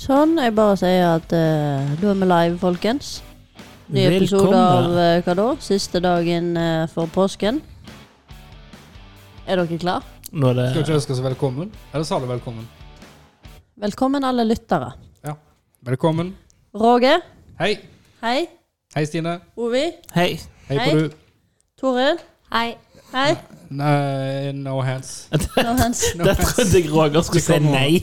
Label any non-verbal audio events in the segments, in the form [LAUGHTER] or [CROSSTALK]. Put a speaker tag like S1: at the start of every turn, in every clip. S1: Sånn. Jeg bare sier at eh, da er vi live, folkens. Ny episode av
S2: Velkommen.
S1: eh, hva da? Siste dagen eh, for påsken. Er dere klar?
S2: Nå er det
S3: Skal vi ikke ønske oss velkommen? Eller sa du velkommen?
S1: Velkommen, alle lyttere.
S3: Velkommen.
S1: Roger.
S3: Hei.
S1: Hei.
S3: Hei, Stine.
S1: Ovi.
S2: [LAUGHS] Hei.
S3: Hei,
S1: Hei.
S3: på du.
S1: Toril. Hei. Hei.
S3: Nei, no hands.
S1: Nå hans.
S3: No
S2: Der
S3: hands.
S2: trodde jeg Roger skulle si nei.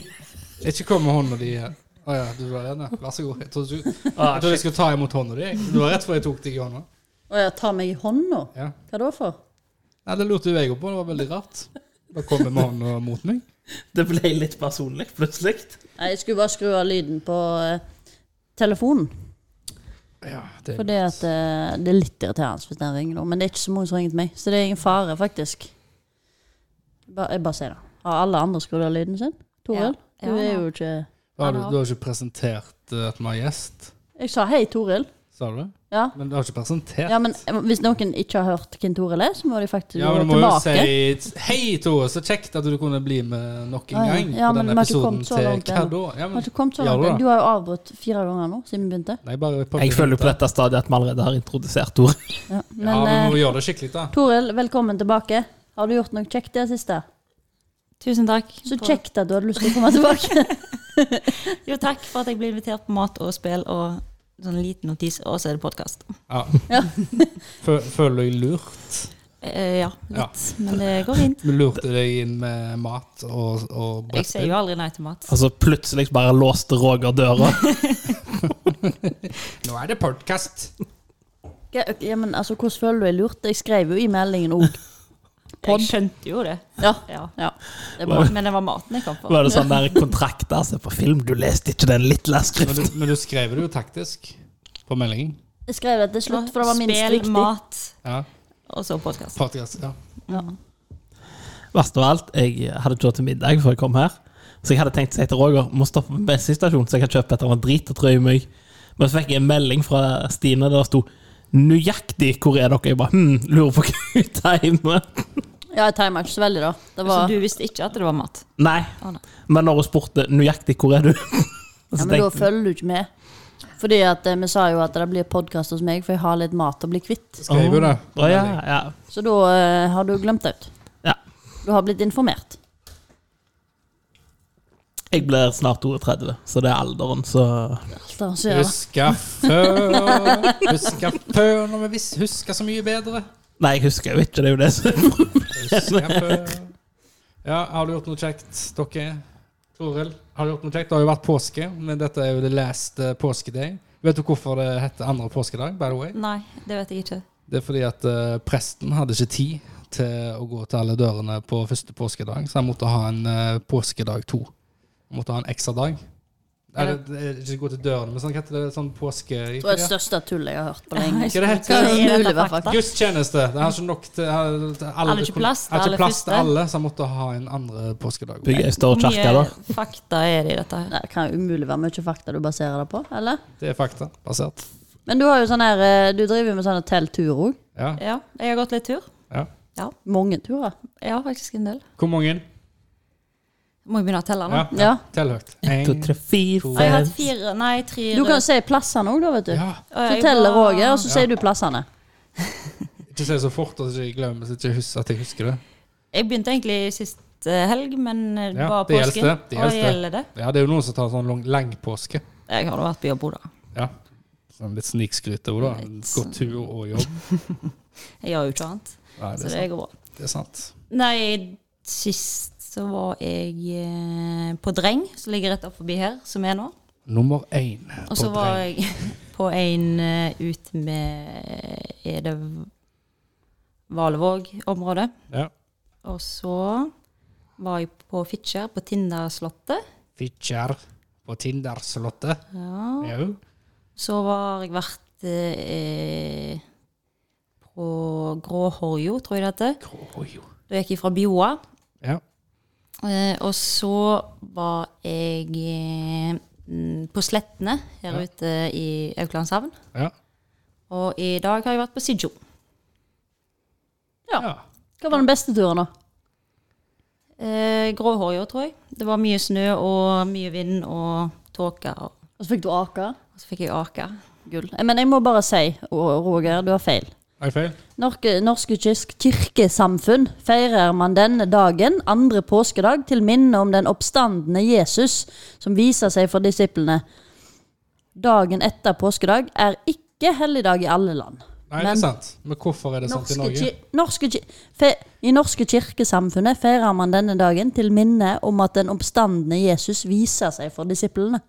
S3: Ikke kom med hånda di her. Å ja, du var enig. Vær så god. Jeg trodde du- jeg
S2: Ah,
S3: trodde jeg
S2: shit.
S3: skulle ta imot hånda di. jeg. Det var rett før jeg tok deg i hånda.
S1: Å ja, ta meg i hånda.
S3: Ja.
S1: Hva da for?
S3: Nei, det lurte jo jeg òg på. Det var veldig rart. Da kom jeg med hånda mot meg.
S2: [LAUGHS] Det ble litt personlig plutselig.
S1: Nei, jeg skulle bare skru av lyden på eh, telefonen.
S3: Ja, det
S1: Fordi at eh, det er litt irriterende hvis den ringer nå, men det er ikke så mange som ringer til meg. Så det er ingen fare, faktisk. Ba, jeg bare sier det. Har alle andre skrudd av lyden sin? Toril?
S4: Ja.
S1: Du
S4: Ja,
S1: er
S4: ja.
S1: jo ikke
S3: Da har du, du har ikke presentert eh, at vi har gjest,
S1: Jeg sa hei, Toril.
S3: sa du det?
S1: Ja.
S3: Men du har ikke presentert.
S1: ja, men eh, hvis noen ikke har hørt hvem Toril er, så må de faktisk
S3: Ja, men
S1: gå
S3: du må jo
S1: tilbake.
S3: si Hei, Tore, så kjekt at du kunne bli med nok en
S1: Ah, ja.
S3: gang
S1: Ja,
S3: på
S1: men
S3: denne
S1: vi har ikke
S3: episoden
S1: kommet så
S3: til
S1: langt
S3: Hva
S1: ennå.
S3: da? Ja,
S1: Har
S3: men,
S1: ikke kommet så
S3: Ja,
S1: langt.
S3: da.
S1: Du har jo avbrutt fire ganger nå siden vi begynte.
S3: nei, bare prøv
S2: Jeg
S3: å
S2: føler
S3: hente.
S2: på dette stadiet at vi allerede har introdusert Tore.
S1: Ja, men
S3: Ja, men vi
S1: eh,
S3: må gjøre det skikkelig, da.
S1: Toril, velkommen tilbake. Har du gjort noe kjekt i det siste?
S4: Tusen takk.
S1: Så
S4: for-
S1: kjekt at du hadde lyst til å komme tilbake.
S4: Jo, takk for at jeg ble invitert på mat og spill og sånn liten notis, og så er det podkast.
S3: Ja.
S1: [LAUGHS] Ja.
S3: Fø- Føler du deg lurt?
S4: Eh, ja, litt.
S3: Ja.
S4: Men det går fint.
S3: Vi lurte deg inn med mat og, og
S4: Jeg sier
S3: brettspill.
S4: jo aldri nei til mat.
S2: Altså plutselig bare låste Roger døra.
S1: [LAUGHS]
S3: Nå er det podkast!
S1: [LAUGHS] Ja, men altså, hvordan føler du deg lurt? Jeg skrev jo i meldingen òg.
S4: Jeg skjønte jo det.
S1: Ja.
S4: Ja.
S1: Ja, det er bra.
S4: Men det var maten jeg kom på.
S2: Var det sånn der kontrakter se på film? Du leste ikke den lille
S3: Men
S2: skriften.
S3: du, men du skrev det jo taktisk på meldingen.
S1: Jeg skrev det til slutt, for det var minst
S4: Spill,
S1: riktig.
S4: mat,
S3: Ja,
S4: og så podkast.
S3: podcast, ja.
S2: Verst av alt, jeg hadde ikke råd til middag før jeg kom her. Så jeg hadde tenkt å si til Roger må stoppe på bensinstasjonen, så jeg kan kjøpe et eller annet drit og trø i meg. Men så fikk jeg en melding fra Stine der det sto 'Nøyaktig hvor er dere?' Jeg bare hm, lurer på hva hun timer.
S1: Ja, jeg timer ikke så veldig, da. Det
S4: Så
S1: var,
S4: du visste ikke at det var mat?
S2: Nei.
S4: Å, nei.
S2: Men når hun spurte nøyaktig hvor er du [LAUGHS]
S1: ja, men
S2: så
S1: da
S2: tenkte jeg,
S1: følger du ikke med. Fordi at eh, vi sa jo at det blir podkast hos meg, for jeg har litt mat å bli kvitt.
S3: Skrev jo det. på
S2: Å ja,
S3: meldingen.
S2: ja.
S1: Så da eh, har du glemt det ut.
S2: Ja.
S1: Du har blitt informert.
S2: Jeg blir snart 32, så det er alderen, så
S1: Alt annet som gjør det.
S3: Huska før, huska før når vi visste Huska så mye bedre.
S2: Nei, jeg husker jo ikke, det er jo det som
S3: Husker på- Ja, har du gjort noe kjekt, dere? Toril, har du gjort noe kjekt? Det har jo vært påske, men dette er jo the last eh, påskedag. Vet du hvorfor det heter andre påskedag, by the way?
S4: Nei, det vet jeg ikke.
S3: Det er fordi at eh, presten hadde ikke tid til å gå til alle dørene på første påskedag, så han måtte ha en eh, påskedag to. Han måtte ha en ekstra dag. Nei, det, det er ikke gå til dørene, men sånn, hva heter det sånn påske...
S1: Det var det største tullet jeg har hørt på lenge.
S3: Hva det heter?
S1: Så det er mulig, i hvert fall.
S3: Gudstjeneste. Det har ikke nok til alle.
S4: Hadde ikke plass til
S3: hadde ikke plass til
S4: alle første.
S3: alle, så han måtte ha en andre påskedag.
S2: bygger ei større
S4: Hvor
S2: kirke, da.
S4: mye fakta er det i dette? her?
S1: Det kan jo umulig være mye fakta du baserer det på, eller?
S3: Det er fakta. Basert.
S1: Men du har jo sånn her eh, Du driver jo med sånne telttur òg.
S3: Ja.
S4: Ja, jeg har gått litt tur.
S3: ja.
S1: Mange turer.
S4: Ja, faktisk en del.
S3: Hvor mange?
S4: Må jeg begynne å telle nå?
S3: Ja.
S1: Ja.
S3: Tell høyt.
S2: En, to, tre, fire,
S3: to.
S4: Jeg har hatt
S2: fem
S4: fire, nei, tre
S1: Du kan jo si plassene òg, da, vet du.
S3: Ja.
S1: Så teller Roger, og så sier du plassene.
S3: Ikke si det så fort at jeg ikke glemmer så ikke jeg husker at jeg husker det.
S4: Jeg begynte egentlig sist eh, helg, men eh, det
S3: Ja,
S4: var
S3: det
S4: påsken.
S3: gjelder det, det
S4: og
S3: gjelder
S4: det
S3: det.
S4: gjelder det.
S3: Ja, det er jo noen som tar sånn lang, lang påske.
S4: Jeg har da vært på jobb, da.
S3: Ja. Sånn litt snikskryt over, da.
S4: Litt
S3: Gå tur og jobb.
S4: Jeg gjør jo ikke annet,
S3: Nei, det
S4: så
S3: er
S4: det
S3: sant.
S4: går bra.
S3: Det er sant.
S4: Nei, sist så var jeg eh, på Dreng, som ligger rett opp forbi her, som er nå.
S3: Nummer én på
S4: Og så var
S3: dreng.
S4: jeg [LAUGHS] på en eh, ut med Er det Valevåg-området?
S3: Ja.
S4: Og så var jeg på Fitjar, på Tindaslottet.
S3: Fitjar på Tinderslottet.
S4: Ja.
S3: Jau.
S4: Så har jeg vært eh, på Gråhorjo, tror jeg det heter.
S3: Krojo.
S4: Da gikk jeg fra Bjoa.
S3: Ja.
S4: Eh, og så var jeg eh, mm, på Slettene her
S3: Ja.
S4: ute i Auklandshavn.
S3: Ja.
S4: Og i dag har jeg vært på Sidjo.
S1: Ja.
S3: ja.
S1: Hva var den beste turen, da?
S4: Eh, Gråhorjo, tror jeg. Det var mye snø og mye vind og tåke, og,
S1: Og så fikk du ake.
S4: og så fikk jeg ake.
S1: Gull. Eh, Men jeg må bare si, Å- Roger, du har feil.
S3: Er det feil?
S1: Norske, norske kirk- kirkesamfunn feirer man denne dagen, andre påskedag, til minne om den oppstandende Jesus som viser seg for disiplene. Dagen etter påskedag er ikke helligdag i alle land.
S3: Nei, det
S1: Men-
S3: er sant. Men hvorfor er det sant i
S1: Norske,
S3: Norge?
S1: ki- norske, ki- fe, I norske kirkesamfunnet feirer man denne dagen til minne om at den oppstandende Jesus viser seg for disiplene.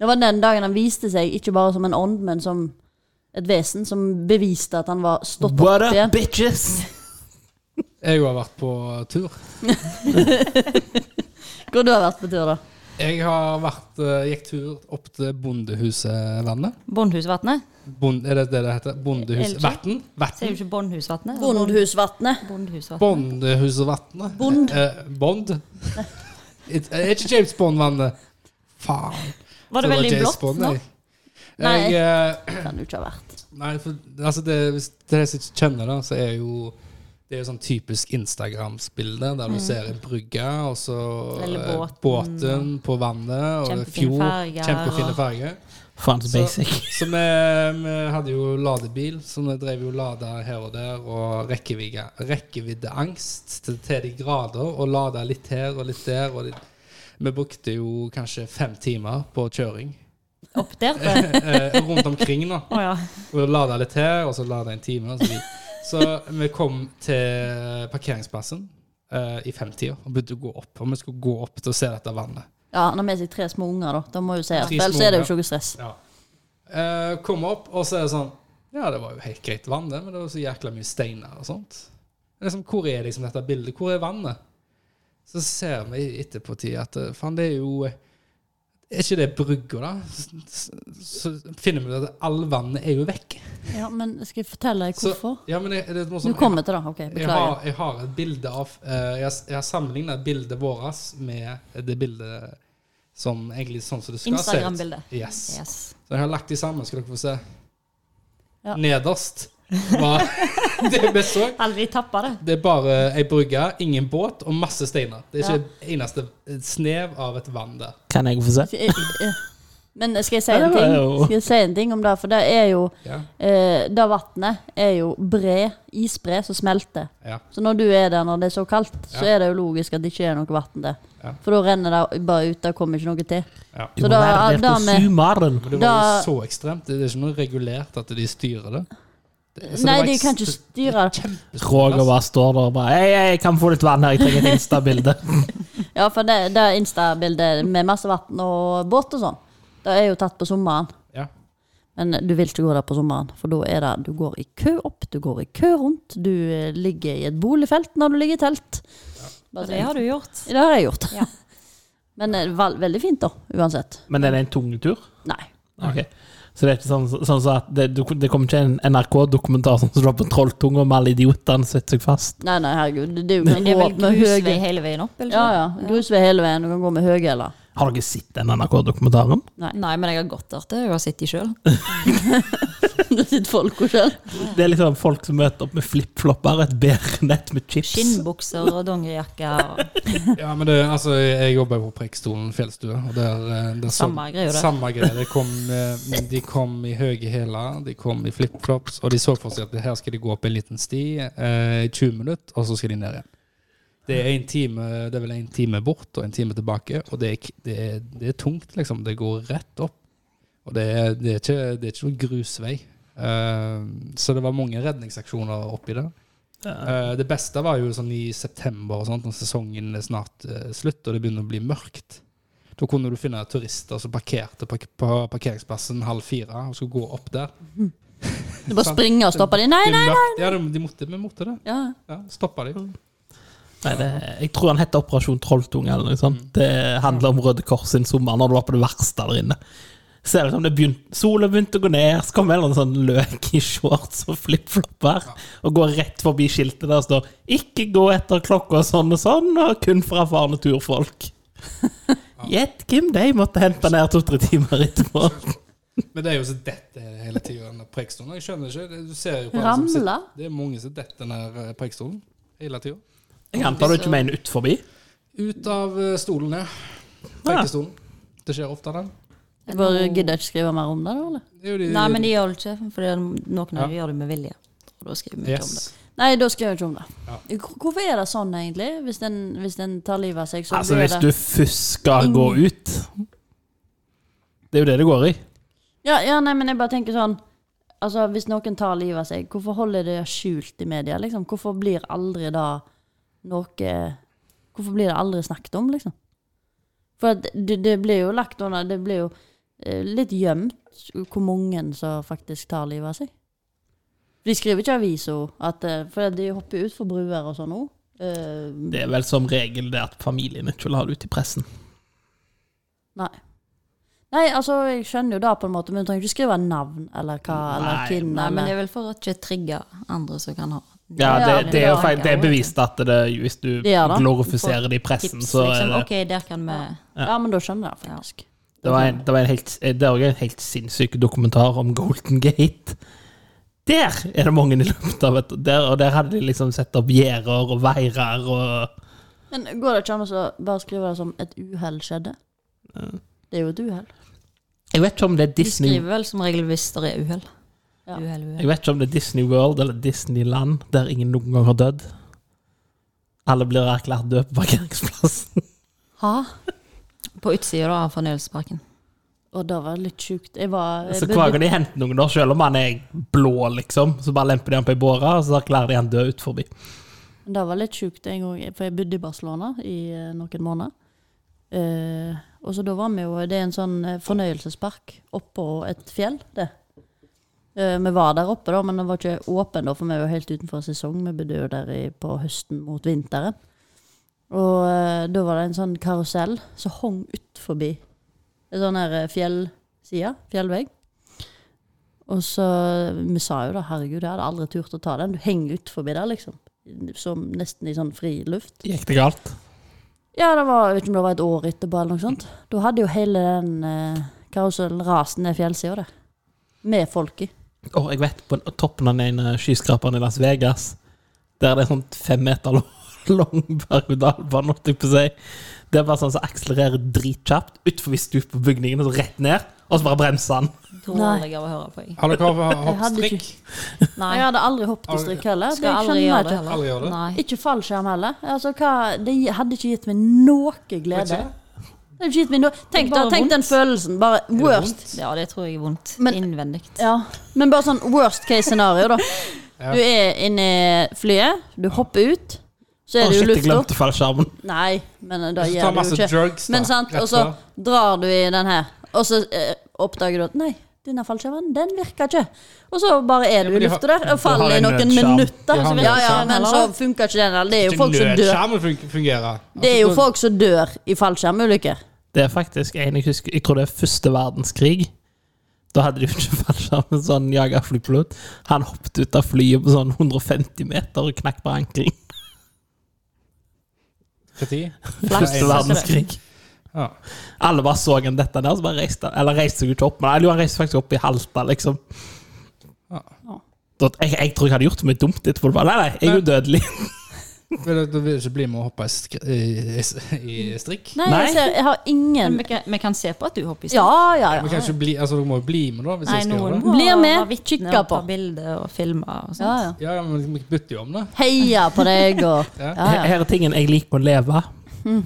S1: Det var den dagen han viste seg, ikke bare som en ånd, men som et vesen som beviste at han var stått opp
S2: What up,
S1: igjen.
S2: bitches?
S3: Jeg har vært på tur.
S1: Hvor du har vært på tur, da?
S3: Jeg har vært, eh, gikk tur opp til Bondehusvannet.
S4: Bondhusvatnet.
S3: Bond, er det det det heter?
S4: Er det
S3: Bondehus...
S4: ikke?
S3: Vatten?
S4: Sier
S3: Vatten?
S4: du ikke Bondhusvatnet?
S1: Bondhusvatnet.
S4: Bondhusvatnet.
S3: Bondehusvatnet?
S1: Bond.
S3: Eh,
S4: [LAUGHS]
S3: bond? It, er ikke James Bond-vannet? Faen.
S4: Var det
S3: Så
S4: veldig
S3: James
S4: blått
S3: Bond,
S4: nå?
S3: jeg.
S1: Nei.
S3: Jeg, eh,
S1: Kan du ikke ha vært.
S3: Nei, for altså det, hvis dere som ikke kjenner det, så er jo det er jo sånn typisk Instagram-bilde, der du ser en brygge, og så
S4: Mm. Eller
S3: eh,
S4: båten.
S3: båten på vannet, og det er
S4: Kjempefine
S3: fjord.
S4: farger,
S3: Kjempefine
S4: og-
S3: farger.
S2: Faen, så
S3: Så-
S2: basic.
S3: Så vi, vi hadde jo ladebil, så vi drev jo lada her og der, og rekkevidde, rekkeviddeangst til, til de grader, og lada litt her og litt der. Og litt. Vi brukte jo kanskje fem timer på kjøring
S4: Opp der? Å
S3: [LAUGHS] eh, rundt omkring, da.
S4: ja.
S3: Og lada litt her, og så lada en time. Og så, videre. så vi kom til parkeringsplassen eh, i femtida og begynte å gå opp. Og vi skulle gå opp til å se dette vannet.
S1: Ja, han har med seg tre små unger, da. Da må jo si at
S3: Tre
S1: Ellers
S3: små
S1: er det jo
S3: unger.
S1: ikke noe stress.
S3: Ja. Eh, kom opp, og så er det sånn Ja, det var jo helt greit vann, det, men det var så jækla mye steiner og sånt. Det er Liksom, hvor er liksom dette bildet? Hvor er vannet? Så ser vi etterpå tid at eh, faen, det er jo eh, Er ikke det brygga, da? Så, så så finner vi ut at all vannet er jo vekk.
S1: Ja, men skal jeg fortelle deg
S3: Så,
S1: hvorfor?
S3: ja, men jeg, det er noe
S1: Du
S3: sånn,
S1: kommer til det, OK.
S3: Jeg har,
S1: Beklager.
S3: jeg har et bilde av eh, Jeg, s- jeg har sammenligna bildet vårt med det bildet som egentlig sånn som det skal se ut.
S4: Instagram-bildet.
S3: Yes.
S4: Yes.
S3: Så jeg har lagt de sammen, skal dere få se.
S1: Ja. [LAUGHS]
S3: Nederst var [LAUGHS] det vi så.
S4: Aldri tappa det.
S3: Det er bare ei brygge, ingen båt og masse steiner. Det er ikke et eneste eh, snev av et vann der.
S2: Kan jeg få se?
S1: eh, Men skal jeg si
S2: Ja, det
S1: en
S2: var
S1: ting?
S2: jo-
S1: Skal jeg si en ting om det? For det er jo
S3: Ja.
S1: eh, Det vannet er jo bre, isbre, som smelter.
S3: Ja.
S1: Så når du er der når det er så kaldt, så
S3: Ja.
S1: er det jo logisk at det ikke er noe vann der.
S3: Ja.
S1: For da renner det bare ut, det kommer ikke noe til.
S3: Ja.
S2: Du
S1: Så
S2: må
S1: da-
S2: være der
S1: da
S2: på
S1: med-
S2: sumaren.
S3: Men det var
S1: Da-
S3: jo så ekstremt. Det er ikke noe regulert at de styrer det. det så det
S1: Nei,
S3: var
S1: de kan ikke
S3: ekstremt-
S1: styre det.
S3: kjempestort
S2: Roger
S3: plass.
S2: bare står der og bare Hei, hei, kan vi få litt vann her? Jeg trenger et Insta-bilde.
S1: Ja, for det, det Insta-bildet med masse vann og båt og sånn, det er jo tatt på sommeren.
S3: Ja.
S1: Men du vil ikke gå der på sommeren, for da er det du går i kø opp, du går i kø rundt, du eh, ligger i et boligfelt når du ligger i telt.
S4: Og det har du gjort.
S1: Det har jeg gjort.
S4: Ja.
S1: [LAUGHS] Men eh, vel, veldig fint, da, uansett.
S2: [LAUGHS] Men er det en tung tur?
S1: Nei.
S2: Ok. Så det er ikke sånn, sånn så at det, du- det kommer ikke en NRK-dokumentar som står på Trolltunga med alle idiotene som sitter seg fast?
S1: Nei, nei, herregud. Det, det er jo
S4: Men det er vel
S1: gå med
S4: grusvei
S1: høye
S4: hele veien opp? Eller?
S1: Ja,
S4: sånn?
S1: ja. Grusvei hele veien, du kan gå med høye eller [LAUGHS]
S2: Har dere sett den NRK-dokumentaren?
S4: Nei, men jeg har gått der til. Jeg har sett de sjøl.
S1: Det sitter folk og skjell.
S2: Det er liksom folk som møter opp med flipflopper, et bærenett med chips.
S4: Skinnbukser og dongerijakke og
S3: [LAUGHS] Ja, men det, altså, jeg jobber jo på Preikestolen fjellstue, og der, eh, der så-
S4: Samme greie, det.
S3: Samme greie. Det kom, eh, de kom i høye hæler, de kom i flipflops, og de så for seg at her skal de gå opp en liten sti eh, i 20 minutter, og så skal de ned igjen. Det er, en time, det er vel en time bort og en time tilbake, og det er, k- det er, det er tungt, liksom. Det går rett opp. Og det er, det er, ikke, det er ikke noen grusvei. Eh, så det var mange redningsaksjoner oppi der.
S2: Ja.
S3: Eh, det beste var jo sånn i september og sånt, når sesongen er snart eh, slutt og det begynner å bli mørkt. Da kunne du finne turister som parkerte på, på parkeringsplassen halv fire og skulle gå opp der.
S1: Du bare springer og stopper de. Nei,
S3: Det er
S1: nei!
S3: mørkt. Ja, de, de måtte, vi måtte det.
S1: Ja.
S3: Ja, Stoppa de.
S2: Nei, det, jeg tror han heter Operasjon Trolltunge eller noe sånt. Det handler om Røde Kors sin sommer, når det var på det verste der inne. Ser det ut som det begynte, sola begynte å gå ned, så kom det en eller annen sånn løk i shorts og flipflopper og går rett forbi skiltet der det står 'Ikke gå etter klokka sånn og sånn', og kun fra erfarne [LAUGHS] turfolk. Gjett hvem de måtte hente ned to-tre timer etterpå.
S3: Men det er jo så dette hele tida under Preikestolen. Jeg skjønner ikke. det- Du ser jo på alle som
S1: Ramla.
S3: sitter- Det er mange som detter ned eh, Preikestolen hele tida.
S2: Jeg antar du ikke mener ut forbi?
S3: Ut av eh, stolen, ja. Preikestolen. Det skjer ofte, den.
S1: Jeg bare gidder ikke skrive mer om det, da? eller?
S3: Det er jo de-
S4: Nei, men de gjør det ikke, for det er noen av
S3: Ja.
S4: dem gjør det med vilje. Og da skriver vi ikke om det.
S3: yes.
S1: Nei, da skriver jeg ikke om det.
S3: Ja.
S1: Hvor- Hvorfor er det sånn, egentlig? Hvis en, hvis en tar livet av seg, så
S2: Altså,
S1: blir
S2: hvis
S1: det
S2: du først skal gå ut Det er jo det det går i.
S1: ja, ja, nei, men jeg bare tenker sånn Altså, Hvis noen tar livet av seg, hvorfor holder det skjult i media? liksom? Hvorfor blir aldri da noe Hvorfor blir det aldri snakket om, liksom? For at det, det blir jo lagt under Det blir jo eh, litt gjemt hvor mange som faktisk tar livet av seg. De skriver ikke i avisa, at, eh, for de hopper jo utfor bruer og sånn òg.
S2: Det er vel som regel det at familien ikke vil ha det ut i pressen.
S1: Nei. Nei, altså, jeg skjønner jo det på en måte, men du trenger ikke skrive navn eller hva, eller
S2: Nei,
S1: hvem,
S4: Nei, men
S1: eller
S4: det er vel for å ikke trigge andre som kan ha
S2: Ja, det, det er jo
S4: Ja,
S2: feil, det er bevist at det, hvis du
S1: Det er det.
S2: glorifiserer det i
S4: tips,
S2: pressen, så er
S4: liksom.
S2: det
S4: Ok, der kan vi
S1: Ja. men da skjønner jeg faktisk.
S2: Det var en, det var en helt, det er også en helt sinnssyk dokumentar om Golden Gate. Der er det mange i lufta, vet du. Der, og der hadde de liksom satt opp gjerder og veirer og
S1: Men går det ikke an å så bare skrive det som 'et uhell skjedde'? Det er jo et uhell.
S2: Jeg vet ikke om det er
S4: De
S2: Disney
S4: skriver vel som regel hvis det er uhell.
S1: Ja.
S4: Uhell, uhell.
S2: Jeg vet ikke om det er Disney World eller Disneyland der ingen noen gang har dødd. Alle blir erklært døde på parkeringsplassen.
S1: Hæ?
S4: På utsida da, av fornøyelsesparken.
S1: Og det var litt sjukt. Jeg var jeg
S2: Så
S1: ble
S2: hver
S1: litt-
S2: gang de henter noen, da, selv om han er blå, liksom, så bare lemper de han på ei båre, og så erklærer de han død ut forbi.
S1: Det var litt sjukt en gang, for jeg bodde i Barcelona i eh, noen måneder. Eh, og så da var vi jo Det er en sånn eh, fornøyelsespark oppå et fjell, det. Eh, vi var der oppe, da, men den var ikke åpen, da, for vi var helt utenfor sesong. Vi bodde jo der i, på høsten mot vinteren. Og eh, da var det en sånn karusell som hang ut forbi en sånn her eh, fjellside, fjellvegg. Og så Vi sa jo da, herregud, jeg hadde aldri turt å ta den. Du henger ut forbi der, liksom som nesten i sånn fri luft.
S2: Gikk det galt?
S1: Ja, det var, jeg vet ikke om det var et år etterpå eller noe sånt. Da hadde jo hele den eh, karusellen rast ned fjellsida der. Med folk i.
S2: Og jeg vet, på toppen av den ene skyskraperen i Las Vegas, der det er sånn fem meter lang, [LAUGHS] lang berg-og-dal-bane, holdt jeg på å si. Det er bare sånn som akselererer dritkjapt utenfor stupet på bygningen, og så rett ned, og så bare bremser han.
S4: Dårlig av å høre på. Jeg.
S3: Har dere hatt-
S1: Jeg
S3: hatt
S1: hadde ikke-
S3: strikk?
S4: Nei,
S1: Jeg hadde aldri hoppet i
S3: Aldri.
S1: strikk heller.
S4: skal
S1: det
S4: aldri
S1: kjenner jeg
S4: gjøre det
S1: til.
S3: Alle gjør
S4: heller.
S3: det?
S4: Nei.
S1: Ikke fallskjerm heller. Altså, hva, det gi- hadde ikke gitt meg noe glede.
S3: Ikke?
S1: Det hadde ikke gitt meg noe. Tenk,
S4: bare
S1: da, tenk den følelsen. Bare worst.
S4: Ja, det tror jeg er vondt.
S1: Men-
S4: Innvendig.
S1: Ja, Men bare sånn worst case scenario, da.
S3: [LAUGHS] Ja.
S1: Du er inne i flyet, du hopper ut, så
S2: Å,
S1: er det
S2: shit,
S1: jo
S2: jeg
S1: lufta.
S2: glemte fallskjermen.
S1: Nei, men da
S3: Hvis du
S1: gjør
S3: tar
S1: du jo
S3: masse
S1: ikke
S3: drugs, da,
S1: Men sant, altså,
S3: rett
S1: og så
S3: før.
S1: drar du i den her, og så eh, oppdager du at nei, denne fallskjermen, den virker ikke. Og så bare er du
S3: men
S1: i
S3: de eh,
S1: lufta der og
S2: har
S1: faller i
S2: en
S1: noen
S2: nødskjerm.
S1: minutter.
S3: De har en
S1: Ja, ja,
S3: nødskjerm,
S1: men så
S4: eller?
S1: funker ikke den. eller Det er jo
S3: Ikke
S1: folk som dør.
S3: nødskjermen fun- fungerer.
S1: Det er jo
S3: Altså,
S1: folk som dør i fallskjermulykker.
S2: Det er faktisk en jeg husker, jeg tror det er første verdenskrig. Da hadde de [LAUGHS] jo ikke fallskjerm, en sånn jagerflypilot. Han hoppet ut av flyet på sånn 150 meter og knakk på ankelen.
S3: Kriti?
S2: Første verdenskrig.
S3: Ja.
S2: Alle bare så han dette der, så bare reiste han Eller reiste seg jo ikke opp, men eller, jo, han reiste faktisk opp i Halta, liksom.
S3: Ja.
S2: Da- Jeg, jeg tror jeg hadde gjort mye dumt etterpå. Bare, nei, nei, jeg er udødelig.
S3: Vil du- Du vil ikke bli med og hoppe i, skri i, i, i strikk?
S1: Nei,
S2: Nei.
S1: jeg, ser, jeg har ingen
S4: Men vi kan, vi kan se på at du hopper i
S1: Ja, ja,
S3: Men
S1: ja.
S3: kanskje bli, altså, dere må jo bli med, da. Hvis
S4: Nei,
S3: jeg skal
S4: noen
S3: gjøre det.
S4: må
S1: Blir med,
S4: være vitne
S1: kikker
S4: og ta
S1: på.
S4: bilder og filme og
S1: ja,
S4: sånt.
S1: ja.
S3: Ja, ja, men vi bytter jo om det.
S1: Heia på deg og [LAUGHS]
S3: Ja.
S1: ja, ja.
S2: Her er tingen jeg liker å leve.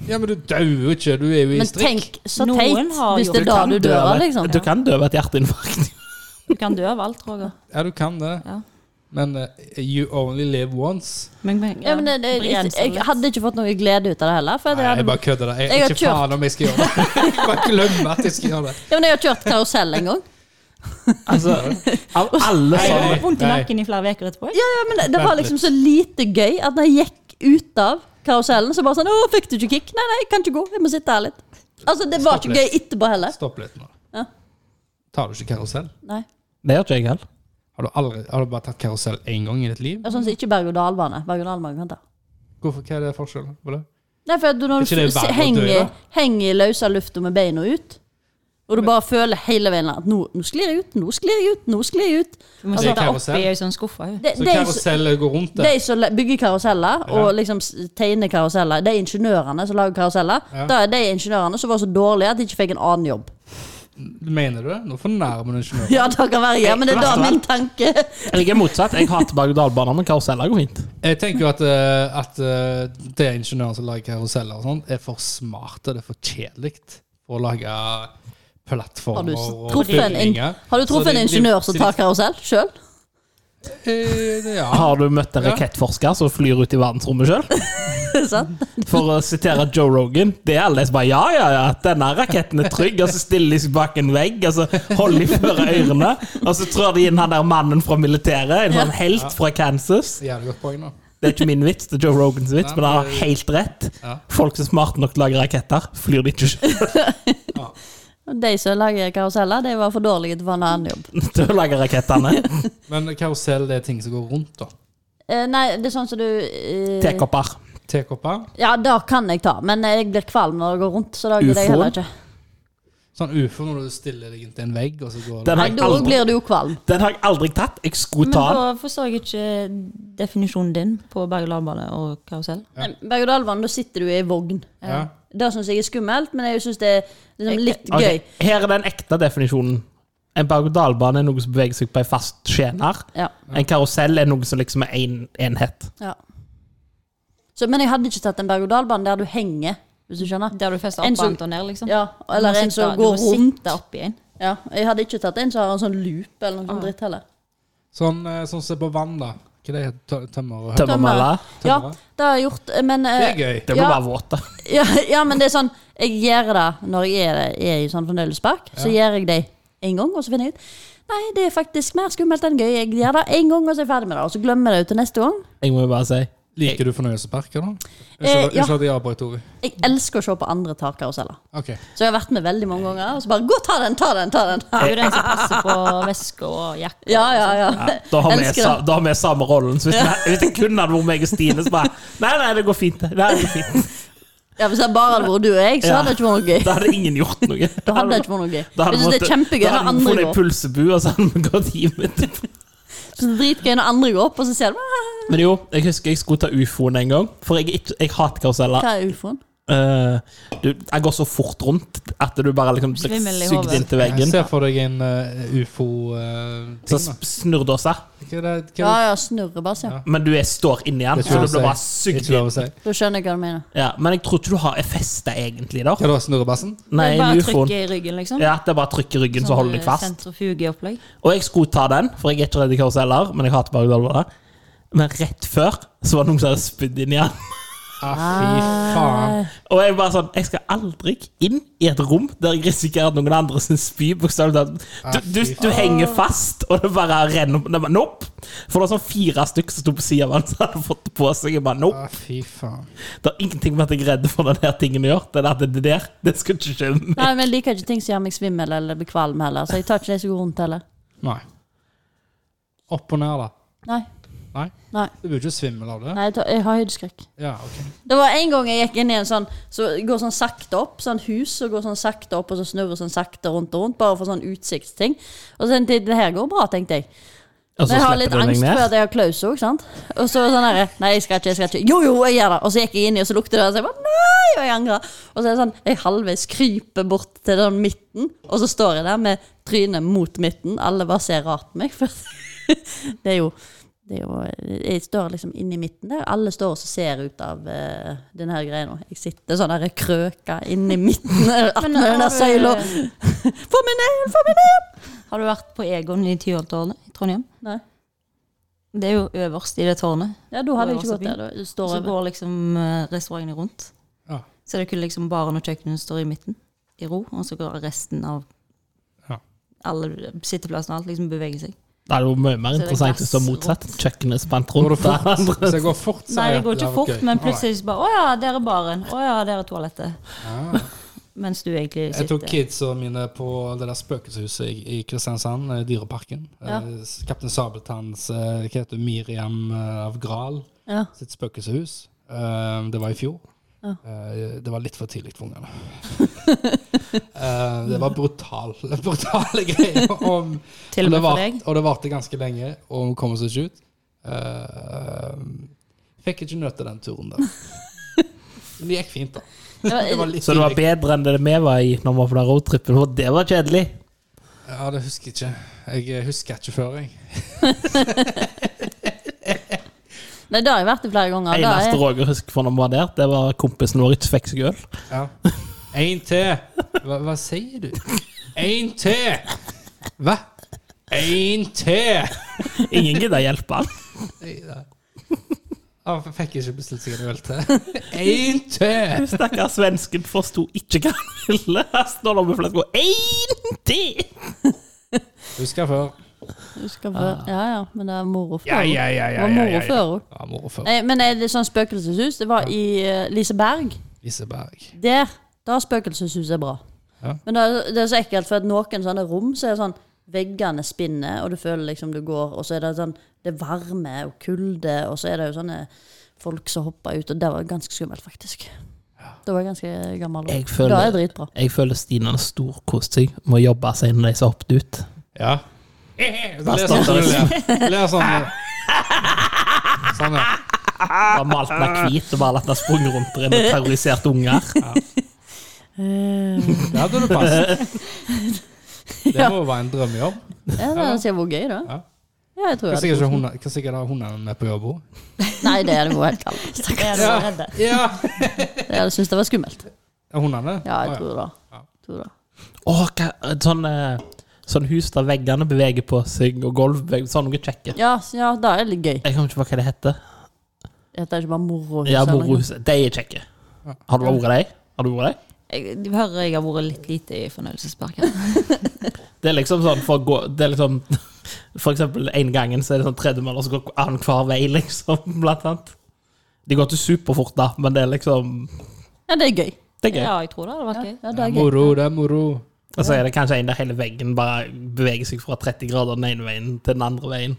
S3: Ja, men du dauer jo ikke. Du er jo i
S1: Men
S3: strikk.
S1: tenk så
S4: Noen
S1: teit
S4: har
S1: hvis
S4: gjort
S1: det er
S4: det.
S1: da
S2: Kan
S1: du
S2: dø
S1: dør
S2: av
S1: av,
S2: et-
S1: liksom.
S2: Du kan dø av et hjerteinfarkt.
S4: Du kan dø av alt, Roger.
S3: Ja, du kan det.
S4: Ja.
S3: Men eh, you only live once.
S4: Men, men,
S1: Ja, men det, det, jeg,
S4: bremser litt.
S1: jeg hadde ikke fått noe glede ut av det heller. For
S3: Nei,
S1: jeg hadde
S3: jeg bare kødder. det. Jeg,
S1: Jeg har
S3: ikke faen om jeg
S1: [LAUGHS]
S3: skal gjøre det. Jeg bare glemmer at jeg skal gjøre det.
S1: Ja, men jeg har kjørt karusell en gang.
S2: Altså, av alle
S4: Jeg
S2: sånne
S4: har vondt i
S3: Nei.
S4: nakken i flere uker etterpå.
S1: Ja, ja, men det, det var liksom så lite gøy at når jeg gikk ut av karusellen, så bare sånn 'Å, fikk du ikke kick?' Nei, nei, jeg kan ikke gå. Jeg må sitte her litt. Altså, det var
S3: Stopp
S1: ikke gøy
S3: litt.
S1: etterpå heller.
S3: Stopp litt nå.
S1: Ja.
S3: Tar du ikke karusell?
S1: Nei.
S2: Det gjør ikke jeg heller.
S3: Har du, aldri, har du bare tatt karusell én gang i ditt liv?
S1: Og sånn som ikke berg-og-dal-bane. Berg-og-dal-bane kan ta.
S3: Hvorfor, hva er det forskjellen på det?
S1: Nei, for at du, når
S3: Ikke det
S1: du
S3: er verre å dø,
S1: henger,
S3: da?
S1: henger i løse lufta med beina ut, Og du bare føler hele veien at nå, nå sklir jeg ut, nå sklir jeg ut, nå sklir jeg ut.
S4: Du må
S3: Altså,
S4: sitte
S3: karusell.
S4: oppi ei sånn skuffe. jo.
S1: De,
S3: Så
S1: de,
S3: karusell går rundt
S1: de
S3: det.
S1: som le- bygger karuseller og liksom s- tegner karuseller, de ingeniørene som lager karuseller,
S3: Ja.
S1: da er de ingeniørene som var så dårlige at de ikke fikk en annen jobb.
S3: Mener du det? Nå fornærmer du ingeniøren.
S1: Ja, det kan være, ja, men det er da min tanke.
S2: Eller jeg er motsatt. Jeg hater berg-og-dal-baner, men karuseller går fint.
S3: Jeg tenker jo at, eh, at eh, det ingeniøren som lager karuseller og sånt, er for smarte. Det er for kjedelig å lage
S1: Har du
S3: plattformer
S1: s-
S3: og
S1: truffet en, in-
S3: bygninger.
S1: har du truffet
S3: Så
S1: en
S3: de- de-
S1: ingeniør som
S3: så
S1: tar karusell sjøl?
S3: de- [LAUGHS] eh, Ja.
S2: Har du møtt en
S3: Ja.
S2: rakettforsker som flyr ut i verdensrommet sjøl?
S1: [LAUGHS] Sant?
S2: For å sitere Joe Rogan, det er alle som bare ja, ja, ja, denne raketten er trygg, og så stiller de seg bak en vegg, og så holder de for ørene, og så trør de inn han der mannen fra militæret, en sånn helt fra Kansas.
S3: Jævlig godt poeng, da.
S2: Det er ikke min vits, det er Joe Rogans vits, men han har helt rett.
S3: Ja.
S2: Folk som er smarte nok til å lage raketter, flyr de ikke [LAUGHS] selv
S1: Og De som lager karuseller, de var for dårlige til å få en annen jobb.
S2: til å lage rakettene.
S3: Men karusell det er ting som går rundt, da.
S1: Eh, nei, det er sånn som du eh,
S2: Tekopper.
S3: Tekopper.
S1: Ja, det kan jeg ta, men jeg blir kvalm når det går rundt. Så det gidder jeg
S2: Ufoen?
S1: heller ikke.
S3: Sånn ufo når du stiller deg inntil en vegg, og så går det
S2: Den
S1: Nei,
S2: har jeg
S1: da
S2: aldri,
S1: blir du jo kvalm.
S2: den har jeg aldri tatt. Jeg skulle
S4: Men
S2: ta den.
S4: da forstår jeg ikke definisjonen din på berg-og-dal-bane og karusell.
S3: Ja.
S1: Nei, Berg-og-dal-banen, da sitter du i ei vogn.
S3: Ja.
S1: Det syns jeg er skummelt, men jeg syns det er liksom litt
S2: Ok,
S1: gøy.
S2: Her er den ekte definisjonen. En berg-og-dal-bane er noe som beveger seg på ei fast skjener.
S1: Ja,
S2: En karusell er noe som liksom er én en enhet.
S1: ja. Så, men jeg hadde ikke tatt en berg-og-dal-bane der du henger, hvis du skjønner.
S4: Der du fester
S1: En
S4: opp
S1: som-
S4: og ned, liksom.
S1: Ja,
S4: Du
S1: Eller
S4: må
S1: en
S4: sitte-
S1: som går
S4: Du må
S1: rundt.
S4: sitte oppi en.
S1: Ja, jeg hadde ikke tatt en som har en sånn loop eller noe sånt
S4: Ah.
S1: dritt heller.
S3: Sånn eh, sånn som er på vann, da. Hva det heter Tø- Tømmer og hø-
S2: Tømmermølle.
S1: Ja,
S3: Tømmer.
S1: det har jeg gjort, men eh,
S3: Det er gøy.
S2: Det blir
S1: Ja.
S2: bare våt. da.
S1: ja, ja, men det er sånn Jeg gjør det når jeg er, er i sånn fornøyelsespark. Så gjør jeg det en gang, og så finner jeg ut Nei, det er faktisk mer skummelt enn gøy. Jeg gjør det en gang, og så er jeg ferdig med det. Og så glemmer jeg det til neste gang.
S2: Jeg må jo bare si
S3: Liker du fornøyelsesparker, da?
S1: Eh,
S3: Unnskyld
S1: ja.
S3: at jeg avbrøt, Ove.
S1: Jeg elsker å se på andre ta karuseller.
S3: Ok.
S1: Så jeg har vært med veldig mange ganger. Og så bare Gå, ta den, ta den, ta den!
S4: Du er jo den som passer på veske og jakke.
S1: Ja, ja, ja.
S2: da har, vi,
S1: Elsker
S2: sa,
S1: det.
S2: da har vi samme rollen. Så hvis, vi, hvis jeg kun hadde vært meg og Stine, så bare Nei, nei, det går fint. det. Nei, det går fint.
S1: ja Hvis det bare hadde vært du og jeg, så
S2: Ja.
S1: hadde det ikke vært noe gøy.
S2: [LAUGHS] Da hadde ingen gjort noe.
S1: Da hadde det ikke vært noe gøy.
S2: da hadde
S1: Jeg synes det er
S2: måttet-
S1: kjempegøy
S2: da
S1: når
S2: hadde vi
S1: andre
S2: funnet en
S1: går.
S2: pulsebu, og så hadde vi gått
S1: [LAUGHS]
S2: hjem etterpå.
S1: Så det er dritgøy når andre går opp, og så ser du «Ah,
S2: Men jo, jeg husker jeg skulle ta ufoen en gang, for jeg, er ikke- jeg hater karuseller.
S1: Hva er ufoen?
S2: Eh, du, jeg går så fort rundt at du bare liksom blir
S4: Svimmel i
S2: sugd
S4: hodet.
S2: inn til veggen.
S3: Se for deg en eh, ufo eh,
S2: Så
S3: ting, da.
S2: sp- snur du seg,
S3: Hva er det, hva
S1: Ja ja,
S3: er det?
S1: snurrebass, ja.
S3: Ja.
S2: men du er, står inni den.
S3: Det er
S2: Så
S3: ikke
S2: du blir
S3: lov å
S2: bare
S3: si. Det er
S2: sugd
S3: ikke lov
S2: inn.
S3: å si.
S1: Da skjønner jeg hva du mener.
S2: Ja, men jeg tror ikke du har festa egentlig der.
S3: Hva da, snurrebassen?
S2: Nei,
S4: Bare
S2: ufoen.
S4: trykke i ryggen, liksom.
S2: Ja, det er bare trykk i ryggen, så holder deg fast.
S4: Sentrifugeopplegg.
S2: Og jeg skulle ta den, for jeg er ikke redd i karuseller, men jeg hater berg-og-dal-bane. Men rett før så var det noen som hadde spydd inn i den.
S3: Ah, fy faen.
S2: Og jeg bare sånn Jeg skal aldri inn i et rom der jeg risikerer at noen andre sin spy. bokstavelig talt. Du, du, du henger fast, og det bare renner det bare, Nope! For det var sånn fire stykker som sto på siden av han som hadde fått det på seg. Jeg bare, nope.
S3: Ah, fy faen.
S2: Det har ingenting med at jeg er redd for den der tingen jeg gjør. Det der, det, det der, det skal ikke skje med meg.
S1: Nei, men Jeg liker ikke ting som gjør meg svimmel eller blir kvalm heller, så jeg tar ikke de som går rundt heller.
S3: Nei. Opp og ned, da.
S1: Nei.
S3: Nei?
S1: Nei.
S3: Du blir jo ikke svimmel av det?
S1: Nei, jeg, tar, jeg har høydeskrekk.
S3: Ja, ok.
S1: Det var en gang jeg gikk inn i en sånn Så går sånn sakte opp, sånn hus og går sånn sakte opp, og så snurrer sånn sakte rundt og rundt, bare for sånn utsiktsting. Og så tenkte jeg det her går bra, tenkte jeg.
S2: Og
S1: Men jeg har litt angst for at jeg har klaus òg, sant. Og så var det sånn herre Nei, jeg skal ikke, jeg skal ikke. Jo, jo, jeg gjør det. Og så gikk jeg inn i, og så lukter det, og så jeg bare Nei! Og jeg angrer. Og så er det sånn Jeg halvveis kryper bort til den midten, og så står jeg der med trynet mot midten. Alle bare ser rart på meg. For [LAUGHS] det er jo det er jo, jeg står liksom inni midten der. Alle står og ser ut av eh, denne her greia nå. Jeg sitter sånn der krøka inni midten
S4: [LAUGHS]
S1: attmed den der søyla. [LAUGHS] Få meg ned! Få meg ned!
S4: Har du vært på Egon i Tyholttårnet i Trondheim?
S1: Nei.
S4: Det er jo øverst i det tårnet.
S1: Ja, da hadde jeg ikke gått der. Da
S4: Og
S1: står
S4: så
S1: jeg
S4: går liksom eh, restaurantene rundt.
S3: Ja.
S4: Så det kun liksom baren og kjøkkenet står i midten, i ro, og så går resten av
S3: Ja.
S4: alle sitteplassene og alt liksom beveger seg.
S2: Det er jo mye mer
S4: Så det er
S2: interessant hvis det var motsatt. Kjøkkenet spant rundt.
S3: Går det fort?
S2: [LAUGHS] der.
S3: Hvis jeg går fort, så
S4: Nei,
S3: er
S4: det går ikke
S3: var
S4: fort,
S3: gøy.
S4: men
S3: Nei.
S4: plutselig så bare Å ja, der er baren. Å ja, der er toalettet.
S3: Ja.
S4: [LAUGHS] Mens du egentlig
S3: Ah. Jeg tok
S4: sitter
S3: kidsa mine på det der spøkelseshuset i i Kristiansand, eh, Dyreparken.
S1: Ja.
S3: Eh, s- Kaptein Sabeltanns eh, hva heter hun, Miriam eh, av Gral
S1: Ja.
S3: sitt spøkelseshus. Eh, Det var i fjor.
S1: Ja.
S3: Eh, det var litt for tidlig for ungene.
S4: [LAUGHS]
S3: Eh, det var brutal, [LAUGHS] brutale
S4: [LAUGHS]
S3: greier. Og,
S4: Til og med
S3: det
S4: for
S3: var-
S4: deg.
S3: Og det varte ganske lenge, og hun kom seg ikke ut. Eh, fikk ikke nøte den
S4: [LAUGHS]
S3: turen der. Men det gikk fint, da. Det var litt
S2: Så det var
S3: tidlig.
S2: bedre enn det vi var i når vi var på den roadtrippen. Og det var kjedelig.
S3: Ja, det husker jeg ikke. Jeg eh, husker ikke før, jeg.
S1: Nei, det har jeg vært i flere ganger. Det
S2: Eneste
S1: er,
S2: Roger husker fra når vi var der, det var kompisen vår ikke fikk seg øl.
S4: [LAUGHS]
S3: Ja. En til. Hva, hva sier du? En til! Hva? En til!
S2: Ingen gidder hjelpe han.
S3: Nei, nei. Han fikk ikke bestilt seg en øl til. [LAUGHS] En til!
S2: Stakkars svensken forsto ikke hva han ville. Her står det med flaska én til!
S3: Husker jeg før.
S1: husker før. Ja, ja, men det er moro før.
S3: Ah. Ja, ja,
S1: Det
S3: ja. ja,
S1: var
S3: ja,
S1: moro
S3: ja, ja.
S1: før òg.
S3: Ja, moro før.
S1: Nei, Men er det sånn spøkelseshus? Det var i eh, Liseberg.
S3: Liseberg.
S1: Der. Da spøkelseshuset er bra.
S3: Ja.
S1: Men det er, det er så ekkelt, for at noen sånne rom så er det sånn Veggene spinner, og du føler liksom du går, og så er det sånn Det er varme og kulde, og så er det jo sånne folk som hopper ut, og det var ganske skummelt, faktisk. Da var jeg ganske gammel.
S2: Jeg
S1: også.
S2: føler-
S1: Det er
S3: [LAUGHS]
S1: dritbra.
S2: Jeg føler Stine har storkost seg med å jobbe seg inn når de som hoppet ut.
S3: Ja.
S2: Der
S3: Le
S2: står
S3: sånn som
S2: det.
S3: du ler. Le sånn. Sånn, ja.
S2: Bare malt den hvit og bare latt den sprunge rundt der inne og terrorisert unger.
S3: Det hadde du passet. Det må jo være en drømmejobb.
S1: Ja, det hadde sikkert vært gøy, da.
S3: Ja.
S1: Ja, jeg tror
S3: Kan
S1: jeg hadde
S3: sikkert ikke hundene- kan sikkert ha hundene med på jobb òg.
S1: Nei, det hadde vært helt kaldt. Stakkars.
S3: Ja. ja.
S1: Jeg hadde syntes det var skummelt.
S3: Er Hundene?
S1: Ja,
S3: Å,
S1: jeg tror det.
S3: Ja.
S1: Tror det.
S2: Åh, hva, et sånn, eh, sånn hus der veggene beveger på seg, og gulv beveger Sånn noe kjekke.
S1: Ja, s- ja, det er litt gøy.
S2: Jeg kommer ikke på hva det heter.
S1: Dette er ikke bare morohuset.
S2: Ja,
S1: eller noe.
S2: Morohuset. De er kjekke. Har du vært der? Har du vært der?
S4: Jeg, du hører jeg har vært litt lite i
S3: [LAUGHS]
S4: fornøyelsesparken.
S2: Det er liksom sånn for å gå Det er liksom For eksempel en gangen så er det sånn tredemøller som går annenhver vei, liksom, blant annet. De går ikke superfort, da, men det er liksom
S1: Ja, det er gøy.
S2: Det er gøy.
S4: Ja, jeg tror det hadde vært
S1: Ja,
S4: gøy.
S1: ja, det
S3: Ja.
S1: er gøy.
S3: Moro, det er moro.
S2: Og så er det kanskje en der hele veggen bare beveger seg fra 30 grader den ene veien til den andre veien.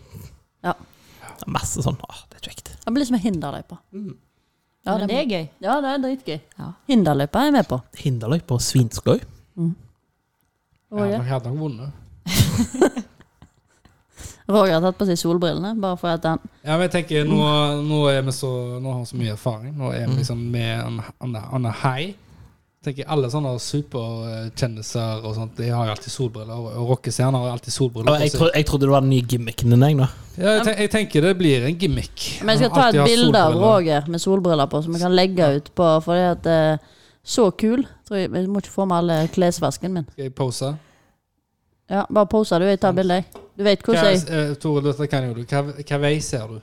S1: Ja.
S2: Det er masse sånn Åh, det er kjekt.
S1: Det blir som en hinderløype. Ja,
S4: Men
S1: det
S4: det
S1: er
S4: er gøy.
S1: Ja, det er dritgøy.
S4: Ja.
S1: Hinderløypa er jeg med på.
S2: Hinderløype og svinskøy.
S1: Roger,
S3: Ja, jeg hadde nok vunnet.
S1: Roger har tatt på seg solbrillene bare for at han
S3: Ja, men jeg tenker, nå, nå, er vi så, nå har vi så mye erfaring. Nå
S1: Mm.
S3: er vi liksom med on, on, a- on a high. Jeg tenker, Alle sånne superkjendiser og sånt, de har jo alltid solbriller. Og, og rockestjerner har alltid solbriller. på
S2: Jeg,
S3: seg.
S2: tro, jeg trodde det var den nye gimmicken din, jeg, nå.
S3: ja, jeg, tenker, jeg tenker det blir en gimmick.
S1: Men jeg skal ta et
S3: Alltid ha
S1: bilde av
S3: solbriller.
S1: Roger med solbriller på, som vi kan legge ut på fordi at eh, Så kul. Tror jeg, jeg må ikke få med alle klesvasken min.
S3: Skal jeg pose?
S1: Ja, Bare pose, du. Jeg tar bilde, jeg. Du vet
S3: Hva,
S1: hvordan jeg
S3: eh, Tore, dette kan jo du. Hva, hva vei ser du?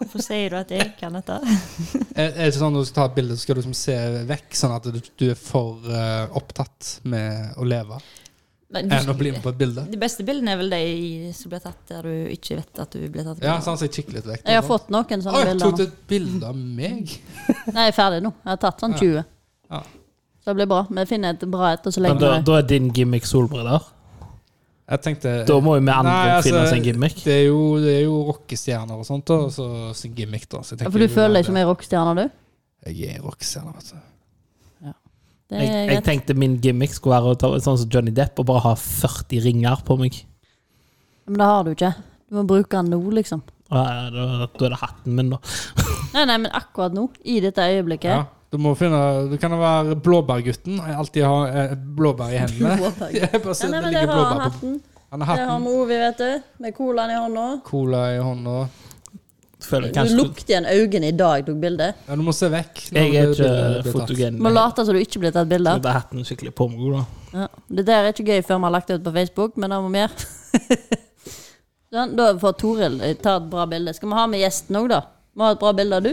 S4: Hvorfor sier du at jeg kan dette?
S3: [LAUGHS] Er, er det ikke sånn når du skal ta et bilde, så skal du liksom se vekk, sånn at du, du er for eh, opptatt med å leve
S4: Nei,
S3: enn å
S4: du,
S3: bli med på et bilde?
S4: de beste bildene er vel de som blir tatt der du ikke vet at du blir tatt.
S3: Ja, sånn så jeg kikker litt vekk.
S1: Jeg har fått noen
S3: Å,
S1: sånne
S3: jeg
S1: bilder
S3: tok
S1: nå.
S3: et bilde av meg.
S1: Nei, jeg er ferdig nå. Jeg har tatt sånn 20.
S3: Ja.
S1: Så det blir bra. Vi finner et bra et, og så
S2: Men
S1: legger vi
S2: da,
S1: det.
S2: da er din gimmick solbriller.
S3: Jeg tenkte
S2: Da må jo vi andre
S3: Nei, altså,
S2: finne oss en gimmick.
S3: Det er jo, det er jo rockestjerner og sånt, da, og så sin gimmick, da. Så
S1: Ja,
S3: jeg tenker
S1: For du
S3: jo,
S1: føler deg
S3: det-
S1: som ei rockestjerne, du?
S3: Jeg er rockestjerne, altså. vet du.
S1: Det
S2: Jeg,
S1: er
S2: jeg
S1: greit.
S2: tenkte min gimmick skulle være å ta, sånn som Johnny Depp og bare ha 40 ringer på meg.
S1: Men det har du ikke. Du må bruke den nå, liksom.
S2: Ja, ja, Da, da er det hatten min, da.
S1: Nei, nei, men akkurat nå, i dette øyeblikket
S3: Ja, du må finne Du kan være blåbærgutten. Jeg alltid har eh,
S1: [LAUGHS]
S3: blåbær i hendene.
S1: Blåbærgutten.
S3: Jeg bare
S1: Ja,
S3: ser
S1: nei, men
S3: at det
S1: det
S3: ligger
S1: har han
S3: blåbær på
S1: hatten.
S3: Han har
S1: Det har
S3: hatten,
S1: Movi, vet du. Med colaen i hånda.
S3: cola i hånda.
S2: Føler jeg
S1: Du
S2: kanskje
S1: lukter igjen øynene i dag jeg tok bilde.
S3: Ja, du må se vekk. når
S2: Jeg er
S3: det bildet
S2: ikke
S3: blir tatt.
S2: fotogen.
S1: Må
S2: Så
S1: late som du ikke blir tatt bilde av.
S2: da er hatten skikkelig påmogod, da.
S1: Ja. Det der er ikke gøy før vi har lagt det ut på Facebook, men det må vi gjøre. [LAUGHS] Sånn, da får Toril eh, ta et bra bilde. Skal vi ha med gjesten òg, da? Må ha et bra bilde av du?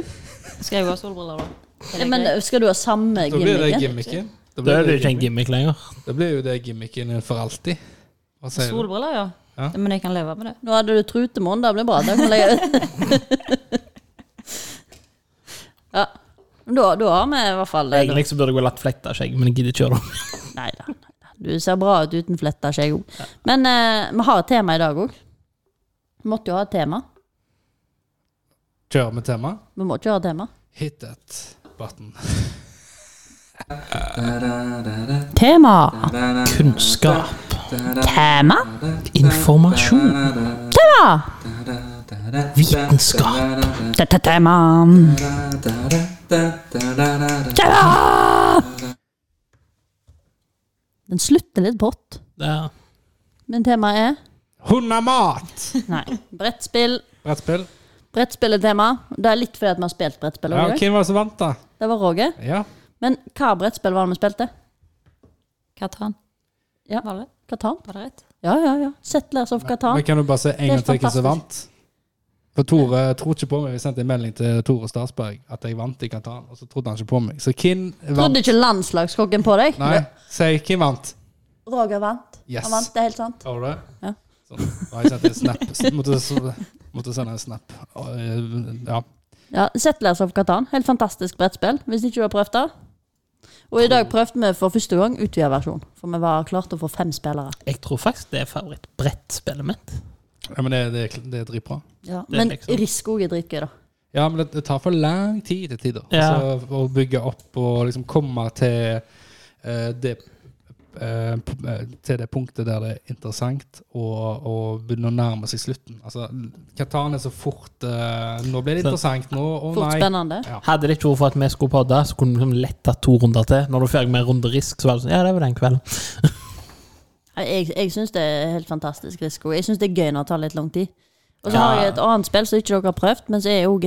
S4: Skal jeg ha solbriller, da? Er
S1: Ja,
S4: det
S1: men
S4: greit?
S1: skal du ha samme
S3: Da blir det
S1: gimmicken?
S3: gimmicken.
S2: Da
S3: Da blir
S2: er det ikke en
S3: gimmick.
S2: gimmick lenger.
S3: Da blir jo det gimmicken for alltid. Hva sier du?
S4: eh, Solbriller, ja.
S3: Ja.
S4: Men jeg kan leve med det.
S1: Nå hadde du trutemonn, det blir bra. Det kan vi legge [LAUGHS] ut. ja. Men Da, da har vi i hvert fall det.
S2: Egentlig så burde jeg ha latt fletta skjegg, men jeg gidder ikke gjøre det.
S1: Nei da. Du ser bra ut uten fletta skjegg òg. Men eh, vi har et tema i dag òg. Vi måtte jo ha et tema.
S3: Kjører vi tema?
S1: Vi må ikke ha et tema.
S3: Hit it. button.
S1: Tema.
S2: Kunnskap.
S1: Tema.
S2: Informasjon.
S1: Tema.
S2: Vitenskap.
S1: Dette tema. Tema. Den slutter litt brått.
S2: Ja.
S1: Men temaet er
S3: Hundemat!
S1: Nei. Brettspill.
S3: Brettspill.
S1: Brettspill er tema. Det er litt fordi at vi har spilt brettspill.
S3: Ja,
S1: også.
S3: hvem var det som vant, da?
S1: Det var Roger.
S3: Ja.
S1: Men hva brettspill var det vi spilte?
S4: Katan.
S1: Ja.
S4: Var, det,
S1: Katan?
S4: var det rett?
S1: Ja, ja, ja. Settlers of Katan.
S3: Men kan du bare se en gang
S1: Helt
S3: til hvem som vant?
S1: fantastisk.
S3: For Tore tror ikke på meg. Vi sendte en melding til Tore Statsberg at jeg vant i Qatar, og så trodde han ikke på meg. Så hvem vant?
S1: Trodde ikke landslagskokken på deg?
S3: Nei, si hvem vant.
S1: Roger vant.
S3: Yes.
S1: Han vant, det er helt sant.
S3: Har du det?
S1: Ja.
S3: Sånn. Da har jeg sendt en snap. Måtte, så- måtte sende en snap. Og, eh, Ja.
S1: Ja, Settlers of Katan. Helt fantastisk brettspill, hvis ikke du har prøvd det. Og i dag prøvde vi for første gang utvida versjon, for vi var klarte å få fem spillere.
S2: Jeg tror faktisk det er favorittbrettspillet mitt.
S3: ja, men det, det, er- det er dritbra.
S1: Ja,
S2: Det er
S1: men
S2: liksom-
S1: Risk òg er dritgøy, da.
S3: Ja, men det, det tar for lang tid til tider.
S2: Ja.
S3: Altså, å bygge opp og liksom komme til eh, det eh, p- eh, til det punktet der det er interessant og, og begynne å nærme seg slutten. Altså, Katan er så fort eh, Nå ble det interessant nå. Å
S1: Fort
S3: nei.
S1: spennende.
S2: Hadde det ikke vært for at vi skulle podde, så kunne vi liksom lett tatt to runder til. Når du er ferdig med en runde risk, så var det sånn Ja, det var den kvelden.
S1: Nei, Jeg, jeg syns det er helt fantastisk risiko. Jeg syns det er gøy når det tar litt lang tid. Og så
S2: Ja.
S1: har jeg et annet spill som ikke dere har prøvd, men som er jo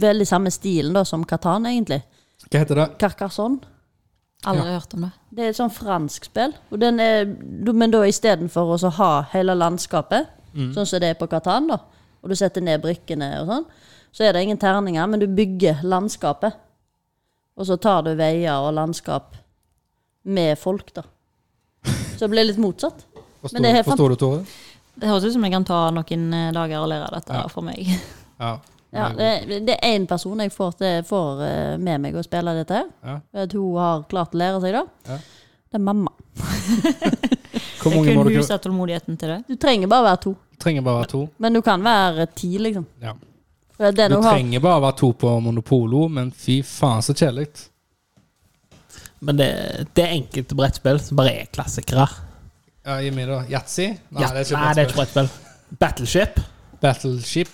S1: veldig samme stilen da som Katan, egentlig.
S3: Hva heter det?
S1: Carcassonne.
S4: Aldri hørt om det.
S1: Det er et sånn fransk spill, og den er, du- men da istedenfor å så ha hele landskapet,
S2: Mm.
S1: sånn som det er på Katan, da, og du setter ned brikkene og sånn, så er det ingen terninger, men du bygger landskapet. Og så tar du veier og landskap med folk, da. Så det blir litt motsatt. Men
S3: Forstår,
S1: det er helt fant-
S3: forstår du, Tore?
S4: Det høres ut som jeg kan ta noen eh, dager og lære dette
S3: Ja.
S4: for meg.
S3: Ja.
S1: Ja, det, det er én person jeg får, til, får eh, med meg å spille dette. her.
S3: Ja.
S1: For At hun har klart å lære seg det.
S3: Ja.
S1: Det er mamma.
S3: Hvor
S4: Jeg
S3: mange må
S4: kunne
S3: dere
S4: huset tålmodigheten til det.
S1: Du trenger bare være to,
S3: Trenger bare være to.
S1: men du kan være ti, liksom.
S3: Ja.
S1: For den
S3: Du
S1: hun har,
S3: trenger bare være to på Monopolo, men fy faen så kjedelig.
S2: Men det, det er enkelte brettspill som bare er klassikere.
S3: Ja, gi meg da. Yatzy? Nei,
S2: Ja,
S3: det er
S2: nei, det er
S3: ikke brettspill.
S2: ikke brettspill. Battleship,
S3: Battleship?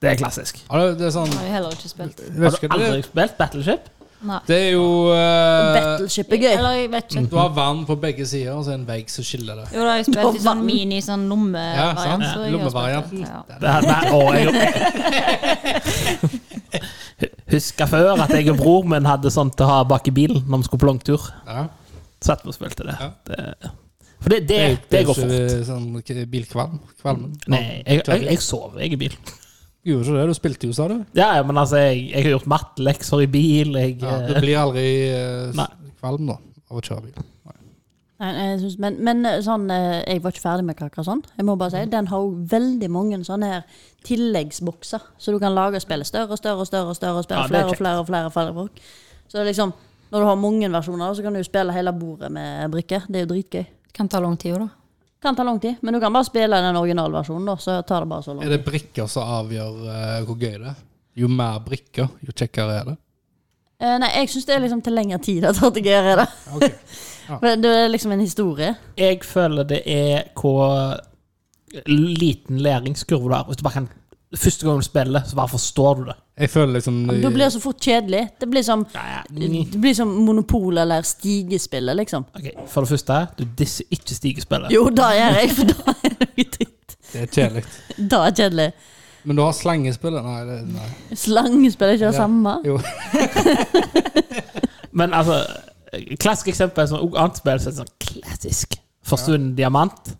S2: det er klassisk.
S3: Ja, det, det er sånn
S4: Har jeg heller ikke spilt.
S2: Har
S3: vet
S2: du
S3: ikke, det,
S2: aldri spilt Battleship?
S4: Nei.
S3: det er jo eh,
S1: Battleship er gøy.
S4: Eller jeg vet ikke.
S3: Du har vann på begge sider, og så er det en vegg som skiller det.
S4: Jo, da har jeg spilt i sånn
S1: Vann.
S4: mini sånn
S3: Ja, sant?
S4: lommevariant. så
S3: Lommevarianten.
S4: jeg har spilt det. Ja.
S2: Det her, nei, å, jeg, [LAUGHS] husker før at jeg og bror min hadde sånt til å ha bak i bilen når vi skulle på langtur.
S3: Ja.
S2: Satt vi og spilte det.
S3: Ja.
S2: det for det, det, det går
S3: ikke,
S2: fort. Mm.
S3: eh, Sånn k- bilkvalm? Kvalmen?
S2: Nei, jeg, jeg, jeg sover jeg i bil.
S3: Gjorde ikke det? Du spilte jo, sa du?
S2: Ja, ja, men altså, jeg, jeg har gjort mattelekser i bil. Jeg,
S3: Ja, du
S2: eh,
S3: blir aldri eh,
S2: Nei.
S3: kvalm da, av å kjøre bil.
S1: Nei, nei, jeg synes, men, men eh, sånn, eh, jeg var ikke ferdig med Carcassonne. Jeg må bare si, Den har jo veldig mange sånne her tilleggsbokser, så du kan lage og spille større og større og større. og større og spille
S2: Ja, det er
S1: flere, og flere og flere og flere folk. Så det er liksom, når du har mange versjoner, så kan du jo spille hele bordet med brikker. Det er jo dritgøy.
S4: Det kan ta lang tid, jo, da.
S1: Kan ta lang tid, men du kan bare spille den originalversjonen, da, så tar det bare så lang
S3: Er det brikker som avgjør eh, hvor gøy det er? Jo mer brikker, jo kjekkere
S2: [LAUGHS]
S3: er det.
S1: Eh, nei, jeg syns det er liksom til lengre tid at det gøyere er det.
S3: Ok.
S1: For det er liksom en historie.
S2: jeg føler det er hvor liten læringskurve du har. Hvis du bare kan Første gang du spiller, så bare forstår du det.
S3: Jeg føler liksom
S1: Du blir så fort kjedelig. Det blir som,
S2: Nei,
S3: Mm.
S1: det blir som Monopol eller Stigespillet, liksom.
S2: Ok, For det første, du disser ikke stigespillet.
S1: Jo, det gjør jeg, for da er det noe dritt.
S3: Det er kjedelig.
S1: Da er det kjedelig.
S3: Men du har slangespillet? Nei, det, nei.
S1: Slangespill er ikke det
S3: Ja.
S2: Ah.
S1: samme.
S3: Jo. [LAUGHS]
S2: Men altså, klassisk eksempel som også annet spill, så er det sånn klassisk. Forsvunnen diamant.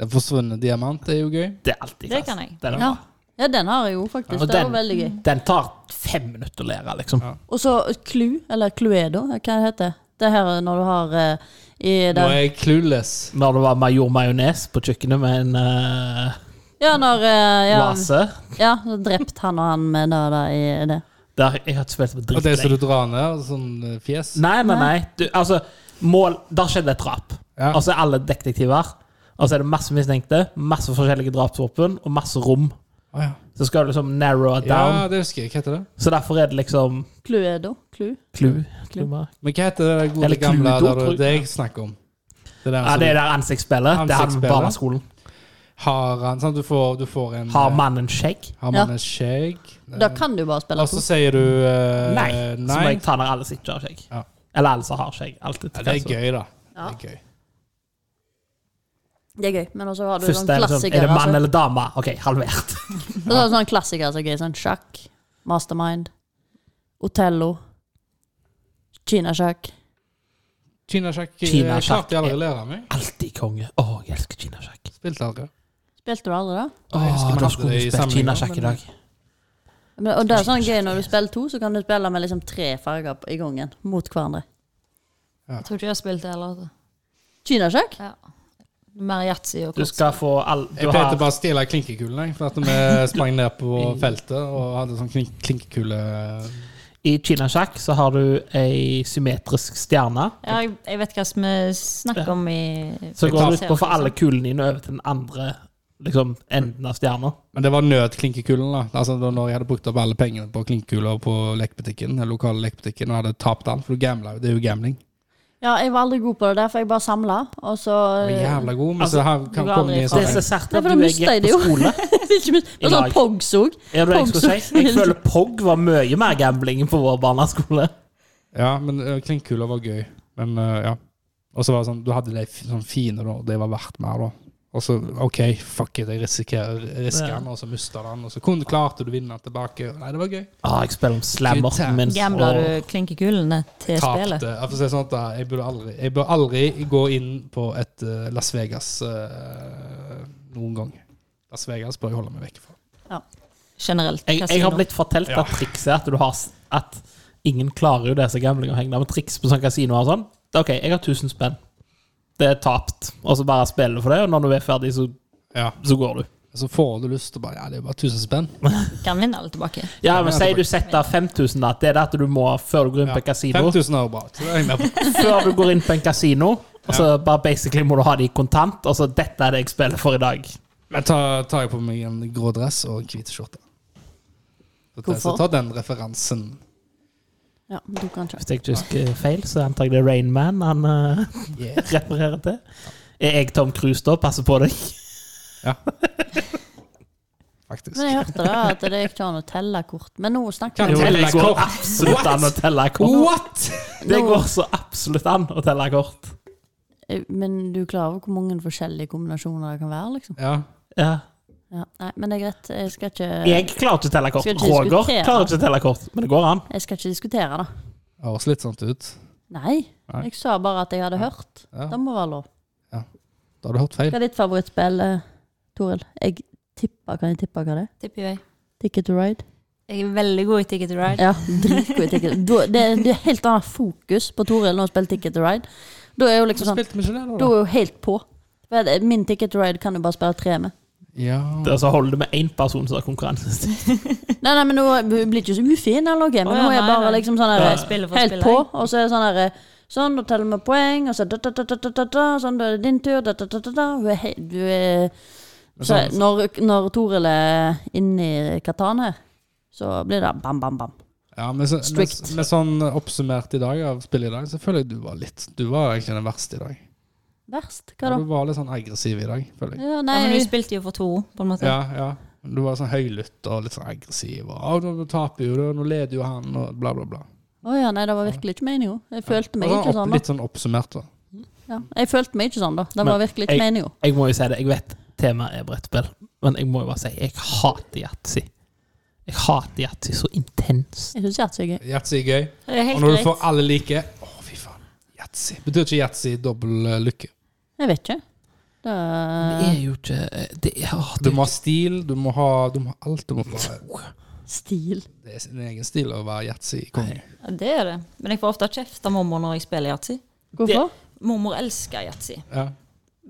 S3: Den forsvunne diamant er jo gøy.
S2: Det er alltid
S4: Det
S2: klassisk.
S4: kan jeg.
S2: Den, er
S1: Ja.
S2: bra.
S1: ja, den har jeg jo, faktisk.
S2: Og
S1: Det var
S2: den-
S1: veldig gøy.
S2: den tar fem minutter å lære, liksom.
S3: Ja.
S1: Og så Clou, eller Cluedo, hva heter det? Det her når du har eh, i
S3: Nå
S1: den
S3: er jeg clueless.
S2: Når det var major majones på kjøkkenet med en eh,
S1: Ja, når eh, ja,
S2: vase
S1: ja, så drept han og han med det der i det.
S2: Der jeg har ikke spilt på
S3: Og det som
S2: dritlenge.
S3: du drar ned, sånn eh, fjes.
S2: Nei, nei, nei. Du, altså, mål Der skjedde et drap.
S3: Ja.
S2: Og så er alle detektiver. Og så er det masse mistenkte, masse forskjellige drapsvåpen og masse rom.
S3: Å ja.
S2: Så skal du liksom narrow it down.
S3: ja, det husker jeg. Hva heter det?
S2: Så derfor er det liksom
S1: Cluedo. Clue.
S2: Clue.
S1: Clue.
S2: Clue.
S3: Men hva heter det der gode
S2: Eller
S3: gamle
S2: Cluedo,
S3: der
S2: tror
S3: du,
S2: jeg.
S3: det jeg snakker om? Det der
S2: Ja,
S3: som
S2: det der ansiktsspillet. Det hadde vi
S3: Ansiktsspillet.
S2: på barneskolen.
S3: har han sant? Du får, du får en
S2: Har mannen skjegg?
S3: eh, Har
S1: Ja.
S3: man et skjegg? Eh,
S1: Da kan du bare spille
S3: Og så
S1: to.
S3: sier du eh,
S2: Nei. Så må
S3: nei.
S2: jeg ta ned alle som ikke har skjegg.
S3: Ja.
S2: Eller alle som har skjegg. Alltid.
S3: Ja, det er gøy, da.
S1: Ja.
S3: Det er gøy.
S1: Det er gøy, men også har du sånn
S2: Først er det sånn
S1: klassiker.
S2: Er det
S1: altså.
S2: mann eller dame? OK, halvert.
S1: Så har du sånn klassiker som er gøy. Sånn sjakk, mastermind, Otello, kinasjakk.
S3: Kinasjakk eh,
S2: Kinasjakk
S3: klarte jeg aldri
S2: er-
S3: å lære meg.
S2: Alltid konge. Å, jeg elsker kinasjakk.
S3: Spilte aldri.
S1: Spilte du aldri det?
S2: Å,
S3: Jeg husker man
S2: da
S3: hadde
S2: skulle
S3: det
S2: vi
S3: i
S2: spilt
S3: samlingen,
S2: kinasjakk i
S3: men-
S2: dag.
S1: Men, og det er sånn gøy når du spiller to, så kan du spille med liksom tre farger på- i gangen mot hverandre.
S4: Jeg tror ikke jeg har spilt det heller. altså.
S1: Kinasjakk?
S4: Ja. Mer yatzy og
S2: Du
S4: kort.
S2: skal få all du
S3: Jeg
S2: har,
S3: pleide bare å stjele klinkekulen, jeg, for at vi sprang ned på
S2: [LAUGHS]
S3: feltet og hadde sånn klink klinkekule
S2: I kinasjakk så har du ei symmetrisk stjerne.
S4: Ja, jeg, jeg vet hva vi snakker om i
S2: Så
S3: Jeg
S2: går
S3: tar-
S2: du ut på å få
S4: [LAUGHS]
S2: alle
S1: liksom.
S2: kulene dine over til den andre liksom, enden av stjerna.
S3: Men det var nødklinkekulen, da. Altså da når jeg hadde brukt opp alle pengene på klinkekuler på lekebutikken, den lokale lekebutikken, og hadde tapt alt, for du gambla jo. Det er jo gambling.
S1: Ja, jeg var aldri god på det der, for jeg bare samla, og så eh,
S3: Du er jævla god, men
S2: Altså,
S3: så her
S4: du
S3: kan
S4: var
S3: komme
S4: aldri
S3: i
S4: i
S2: Det er
S3: sånn
S2: så
S1: Nei,
S2: sært at
S1: for
S2: du
S1: da
S2: er
S1: mistet jeg
S2: greit
S1: det
S2: på
S1: jo.
S2: skole.
S1: Det er ikke mye- det er [LAUGHS]
S2: I
S1: sånn
S2: lag.
S1: pogsug.
S2: Er det det jeg skulle si? Jeg føler POG var mye mer gambling enn på vår barneskole.
S3: Ja, men uh, klinkekuler var gøy. Men eh, ja. Og så var det sånn, du hadde de f- sånn fine, da, og de var verdt mer, da. Og så OK, fuck it, jeg risikerer risker
S2: Ja.
S3: den, og så mista den, og så kun klarte du å vinne tilbake. Nei, det var gøy.
S2: Ah, jeg spiller om slammerten min.
S4: Gambla
S2: og-
S4: du klinkekulene til spillet?
S3: Tapte. Jeg, får si sånn at da, jeg, burde aldri, jeg bør aldri gå inn på et eh, Las Vegas eh, noen gang. Las Vegas bør jeg holde meg vekk fra.
S4: Generelt.
S2: Jeg, jeg
S4: kasino.
S2: har blitt fortalt at trikset er at du har s- at ingen klarer jo det som gambling å henge der med triks på sånn kasino og sånn. Det er OK, jeg har 1000 spenn. Det er tapt. Og så bare spiller du for det, og når du er ferdig, så,
S3: Ja.
S2: så går du.
S3: Så får du lyst til å bare Ja, det er bare 1000
S2: [LAUGHS]
S3: spenn.
S4: Kan vinne alle tilbake.
S2: Ja, men altså- sier du setter 5000, da. Det er det at du må, før du går inn på en
S3: Ja.
S2: kasino
S3: 5000 er jo bra. Så det er jeg med på.
S2: Før du går inn på en kasino, og så bare basically må du ha det i kontant, og så dette er det jeg spiller for i dag.
S3: Men ta- tar jeg på meg en grå dress og en hvit skjorte. Så tar-
S1: Hvorfor?
S3: Så ta den referansen.
S1: Ja, du kan ikke.
S2: Hvis jeg ikke husker feil, så antar jeg det er Rainman han eh, [LAUGHS]
S3: Yeah.
S2: refererer til. Er jeg Tom Cruise, da? Passer på deg.
S3: Faktisk.
S1: Men jeg hørte da at det gikk ikke an å telle kort. Men nå snakker
S3: Kan
S1: vi
S2: Jo,
S1: om
S2: det
S3: telle
S2: går
S3: kort.
S2: absolutt an å telle kort.
S3: What?!
S2: Det går så absolutt an å telle kort.
S1: Eh, Men du klarer jo hvor mange forskjellige kombinasjoner det kan være, liksom.
S3: Ja.
S2: Ja.
S1: Ja. Nei, men det er greit. Jeg skal ikke,
S2: Jeg klarer ikke å telle kort.
S1: Skal ikke
S2: Roger
S1: diskutere.
S2: klarer ikke å telle kort, men det går an.
S1: jeg skal ikke diskutere det.
S3: Det høres litt sånn ut.
S1: Nei.
S3: Nei.
S1: Jeg sa bare at jeg hadde hørt.
S3: Ja.
S1: Det må være lov.
S3: Da har du hørt feil.
S1: Hva er ditt favorittspill, eh, Toril? Jeg tipper, Kan jeg tippe hva det er?
S4: Tipper jeg.
S1: Ticket to ride?
S4: Jeg er veldig god i Ticket to Ride.
S1: Ja, dritgod i Ticket. Da- Det, det er helt annet fokus på Toril når hun spiller Ticket to ride. Da er hun liksom
S3: Så
S1: sånn
S3: spilte vi ikke det, da,
S1: Da er hun helt på. For det- Min Ticket to ride kan du bare spille tre med.
S3: da? Ja.
S2: Og så holder det med én person som har konkurranse.
S1: Nei, nei, men nå hun blir ikke så ufin eller noe, men
S4: Å, ja,
S1: nå er jeg
S4: nei,
S1: bare
S4: nei.
S1: liksom sånn her
S4: Ja. Spiller for
S1: Helt
S4: spiller.
S1: på, og så er det sånn her Sånn, da teller vi poeng, og så da, da, da, da, da, da, da, Sånn, da er det din tur, da, da, da, da, da. Hun er helt Du er så
S3: Sånn,
S1: når, når Toril er inne i Katan her, så blir det bam, bam, bam.
S3: ja men, så,
S1: Strict.
S3: men, men sånn oppsummert i dag av spillet i dag, så føler jeg du var litt Du var egentlig den verste i dag.
S1: Verst. Hva da?
S3: Du var litt sånn aggressiv i dag, føler jeg.
S1: Ja,
S4: Ja,
S1: nei,
S4: men du spilte jo for to, på en måte.
S3: Ja, ja. Du var sånn høylytt og litt sånn aggressiv. Og, «Å, nå taper jo du, nå leder jo han, og bla, bla, bla.
S1: Å ja, nei, det var virkelig ikke meninga. Jeg følte meg
S2: altså,
S3: Og sånn
S1: ikke
S3: opp-
S1: sånn,
S3: Litt sånn oppsummert, da.
S1: da. Ja, jeg følte meg ikke sånn, da. Det
S2: Men
S1: var virkelig ikke
S2: jeg-
S1: meninga.
S2: Jeg må jo si det, jeg vet temaet er brettspill, men jeg må jo bare si jeg hater yatzy. Jeg hater yatzy så intenst.
S1: Jeg syns Yatzy er gøy.
S3: Yatzy er gøy.
S4: Det er
S3: Og
S4: helt
S3: når du
S4: greit.
S3: får alle like Å, fy faen. Yatzy. Betyr ikke yatzy dobbel eh, lykke?
S1: Jeg vet ikke. Det
S2: Det er jo ikke eh, Det er, åh,
S3: Du
S2: det er
S3: må ha stil, du må ha, du må ha alt. Du må ha,
S1: Stil.
S3: det er sin egen stil å være yatzy-konge.
S4: Ja, det er det. Men jeg får ofte kjeft av mormor når jeg spiller yatzy.
S1: Hvorfor?
S4: Mormor elsker yatzy,
S3: Ja.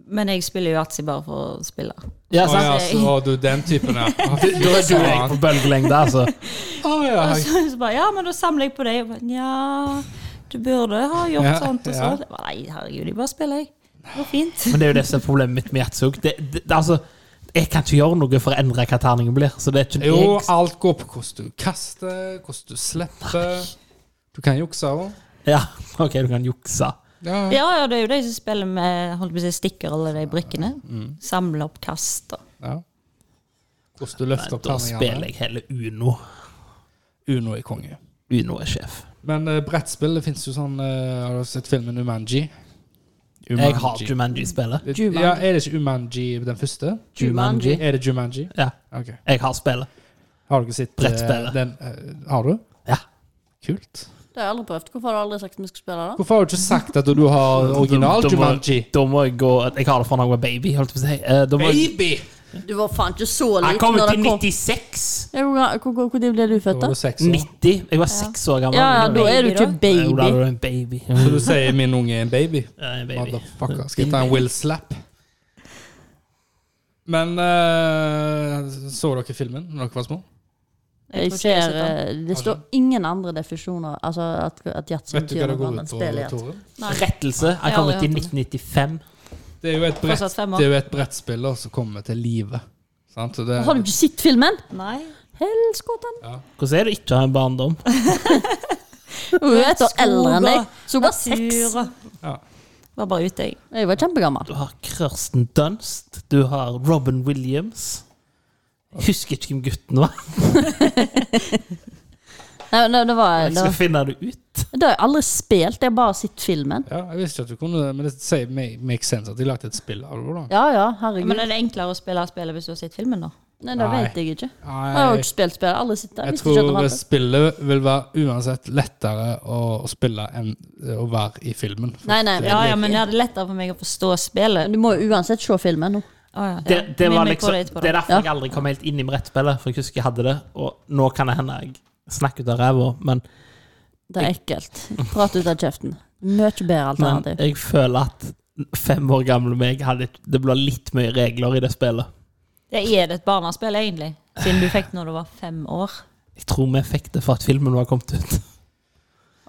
S4: men jeg spiller jo yatzy bare for å spille.
S2: ja,
S3: Å
S2: sant?
S3: ja, så å, du den typen, ja. Å, fy
S2: Da er du og jeg
S3: faen.
S2: på bølgelengde, altså.
S3: Å, ja.
S4: Og så, så bare, ja, men da samler jeg på deg. Og bare, Nja, du burde ha gjort
S3: Ja,
S4: sånt
S3: ja.
S4: og sånt. Jeg bare, Nei, herregud, jeg bare spiller, jeg. Det går fint.
S2: Men det er jo det som er problemet mitt med yatzy. Det, det, det, altså, Jeg kan ikke gjøre noe for å endre hva terningen blir. Så det er ikke
S3: Jo, ah.
S2: jeg.
S3: alt går på hvordan du kaster, hvordan du slipper. Du kan jukse òg.
S2: Ja, ok, du kan jukse.
S3: Ja, ja.
S4: Ja, ja, det er jo de som spiller med holdt på å si, stikker alle de brikkene.
S2: Mm.
S4: Samler opp kast. og-
S3: ja. Hvordan du løfter
S2: Nei,
S3: opp
S2: da spiller
S3: terningene.
S2: jeg heller Uno.
S3: Uno er konge.
S2: Uno er sjef.
S3: Men eh, brettspill, det fins jo sånn eh, Har du sett filmen Umanji?
S2: Jeg har Jumanji-spillet.
S1: Jumanji.
S3: Ja, er det ikke Umanji den første?
S1: Jumanji.
S3: Er det Jumanji?
S2: Ja,
S3: Ok.
S2: jeg har spillet.
S3: Har dere sett eh,
S2: Brettspillet.
S3: den? eh, har du?
S2: Ja.
S3: Kult.
S1: Det har jeg aldri prøvd. Hvorfor har du aldri sagt vi skulle spille det?
S3: Hvorfor har du ikke sagt at du har
S2: [LAUGHS]
S3: original
S2: Da må-
S3: Jumanji?
S2: Da må jeg gå Jeg har det fra da jeg var baby, holdt jeg på å si. Eh, Da må jeg,
S3: Baby!
S1: da? Du var faen ikke så
S2: jeg
S1: liten
S2: kom
S1: når
S2: ut i
S1: det kom.
S2: 96.
S1: Ja, Hvor hvor- hvor- hvor tid ble du
S3: Da
S1: født, da?
S3: var du seks år.
S2: 90. Jeg var seks år gammel.
S1: Ja, ja, da er du ikke
S2: Jo, da er
S1: baby.
S2: du en baby.
S3: Så du sier min unge er en baby?
S2: Ja, en baby.
S3: Motherfucker. Skal jeg ta en Will Slap? Men eh, så dere filmen når dere var små?
S1: Jeg
S4: tror ikke jeg har
S1: ser
S4: sett den.
S1: eh, Det står ingen andre definisjoner. Altså at, at yatzy
S3: Altså- Vet du
S1: betyr
S3: hva det
S1: noe
S3: går
S1: annet
S3: ut
S1: spill
S3: på,
S1: igjen.
S3: Tore?
S2: Rettelse. Jeg kom
S4: Ja,
S2: ut
S4: det
S2: i
S4: hørte
S2: 1995.
S3: Det er jo et, brett,
S4: Fortsatt fem år.
S3: det er jo et brettspill da, som kommer til live. Sant? Og Det,
S1: Har du ikke sett filmen?
S4: Nei.
S1: Helskotten!
S2: Hvordan er det å ikke å ha en barndom?
S1: Hun er et år eldre enn meg. Så hun var seks.
S4: Natura.
S3: Ja.
S4: Var bare ute, jeg.
S1: Jeg var kjempegammel.
S2: Du har Kirsten Dunst. Du har Robin Williams. Jeg husker ikke hvem gutten var.
S1: Nei, det, det, var,
S2: Jeg
S1: det,
S2: skal
S1: var,
S2: finne det ut.
S1: det har jeg aldri spilt. Jeg har bare sett filmen.
S3: ja, jeg visste ikke at du kunne det, men det sier make, make sense at de lagde et spill av det. da.
S1: Ja ja, herregud.
S4: Men er det enklere å spille spillet hvis du har sett filmen, da?
S1: Nei, det
S3: Nei.
S1: vet jeg ikke. Jeg har jo
S3: Nei,
S1: ikke spilt spillet. Aldri sett det.
S3: jeg
S1: Jeg visste ikke at det
S3: tror
S1: var det.
S3: spillet vil være uansett lettere å, å spille enn eh, å være i filmen.
S1: Nei, nei.
S4: Ja, ja, men det er lettere for meg å forstå
S1: Men
S4: spillet.
S1: Du må jo uansett se filmen nå.
S4: Å, ja.
S2: Det, det,
S4: Minn
S2: var
S4: meg
S2: liksom,
S4: på det etterpå,
S2: det er
S4: da.
S2: derfor jeg aldri kom helt inn i brettspillet. For jeg husker jeg hadde det, og nå kan det hende jeg snakker ut av ræva, men,
S1: Det er ekkelt. Prat ut av kjeften. Mye bedre
S2: men
S1: alternativ.
S2: jeg føler at fem år gamle meg hadde Det ble litt mye regler i det spillet.
S4: Det er det et barnespill, egentlig. Siden du fikk det når du var fem år.
S2: Jeg tror vi fikk det for at filmen var kommet ut.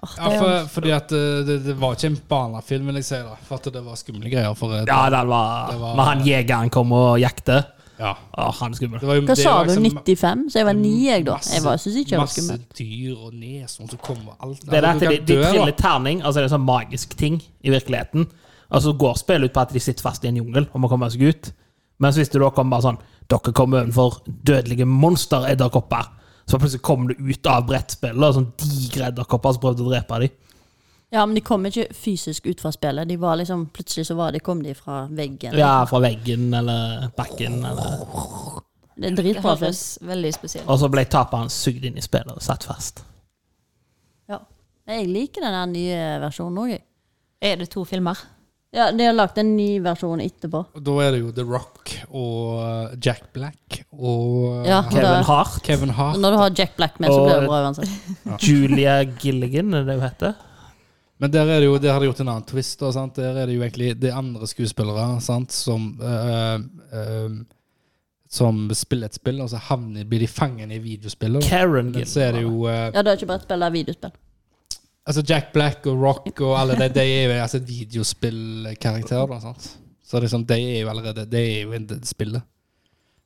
S1: Åh, det
S3: Ja,
S1: er jo-
S3: for, fordi at eh, det, det var ikke en barnefilm, vil jeg si. da, For at det var skumle greier. For, eh,
S2: Ja, den var,
S3: Det var-
S2: Når han jegeren kom og jakter.
S3: ja.
S2: Å, han er skummel.
S3: Det var
S1: Hva
S3: jo- det
S1: sa
S3: var
S1: du?
S3: liksom
S1: 95? Så jeg var ni, jeg, da. Jeg var-
S3: masse-
S1: synes ikke jeg var
S3: Masse
S1: skummel.
S3: dyr og neshorn som kommer og alt.
S2: Det er det
S3: Altså,
S2: at de,
S3: du kan
S2: de
S3: dø, da.
S2: triller terning, altså det er en sånn magisk ting i virkeligheten. Altså går spillet ut på at de sitter fast i en jungel og må komme seg ut. Mens hvis det da kommer bare sånn Dere kommer overfor dødelige monsteredderkopper. Så plutselig kommer det ut av brettspillet, og sånn digre edderkopper som prøvde å drepe dem.
S1: Ja, men de kom ikke fysisk ut fra spillet. De var liksom, plutselig så var de, kom de fra veggen.
S2: Ja, fra veggen eller bakken eller
S1: Det er
S4: Det
S1: dritbra film.
S4: høres veldig spesielt
S2: Og så ble taperen sugd inn i spillet og satt fast.
S1: Ja. Jeg liker den her nye versjonen òg, jeg.
S4: Er det to filmer?
S1: Ja, de har lagd en ny versjon etterpå.
S3: Og Da er det jo The Rock og eh, Jack Black og eh,
S1: Ja,
S2: Kevin
S1: da,
S2: Hart.
S3: Kevin Hart.
S1: når du har Jack Black med, så blir det
S2: Og-
S1: bra uansett.
S2: Julia Gilligan, er det hun heter?
S3: Men der er det jo, der har de gjort en annen twist. Da, sant? Der er det jo egentlig de andre skuespillere sant? som eh, eh, som spiller et spill, og så havner, blir de fanget i videospillet. da.
S2: Karen
S3: Men så er det
S2: Gilligan.
S3: jo eh,
S1: Ja, det er ikke brettspill, det er videospill.
S3: Altså Jack Black og Rock og alle de, de er jo altså, videospillkarakterer. da, sant? Så liksom, de er jo allerede De er jo en del spillet.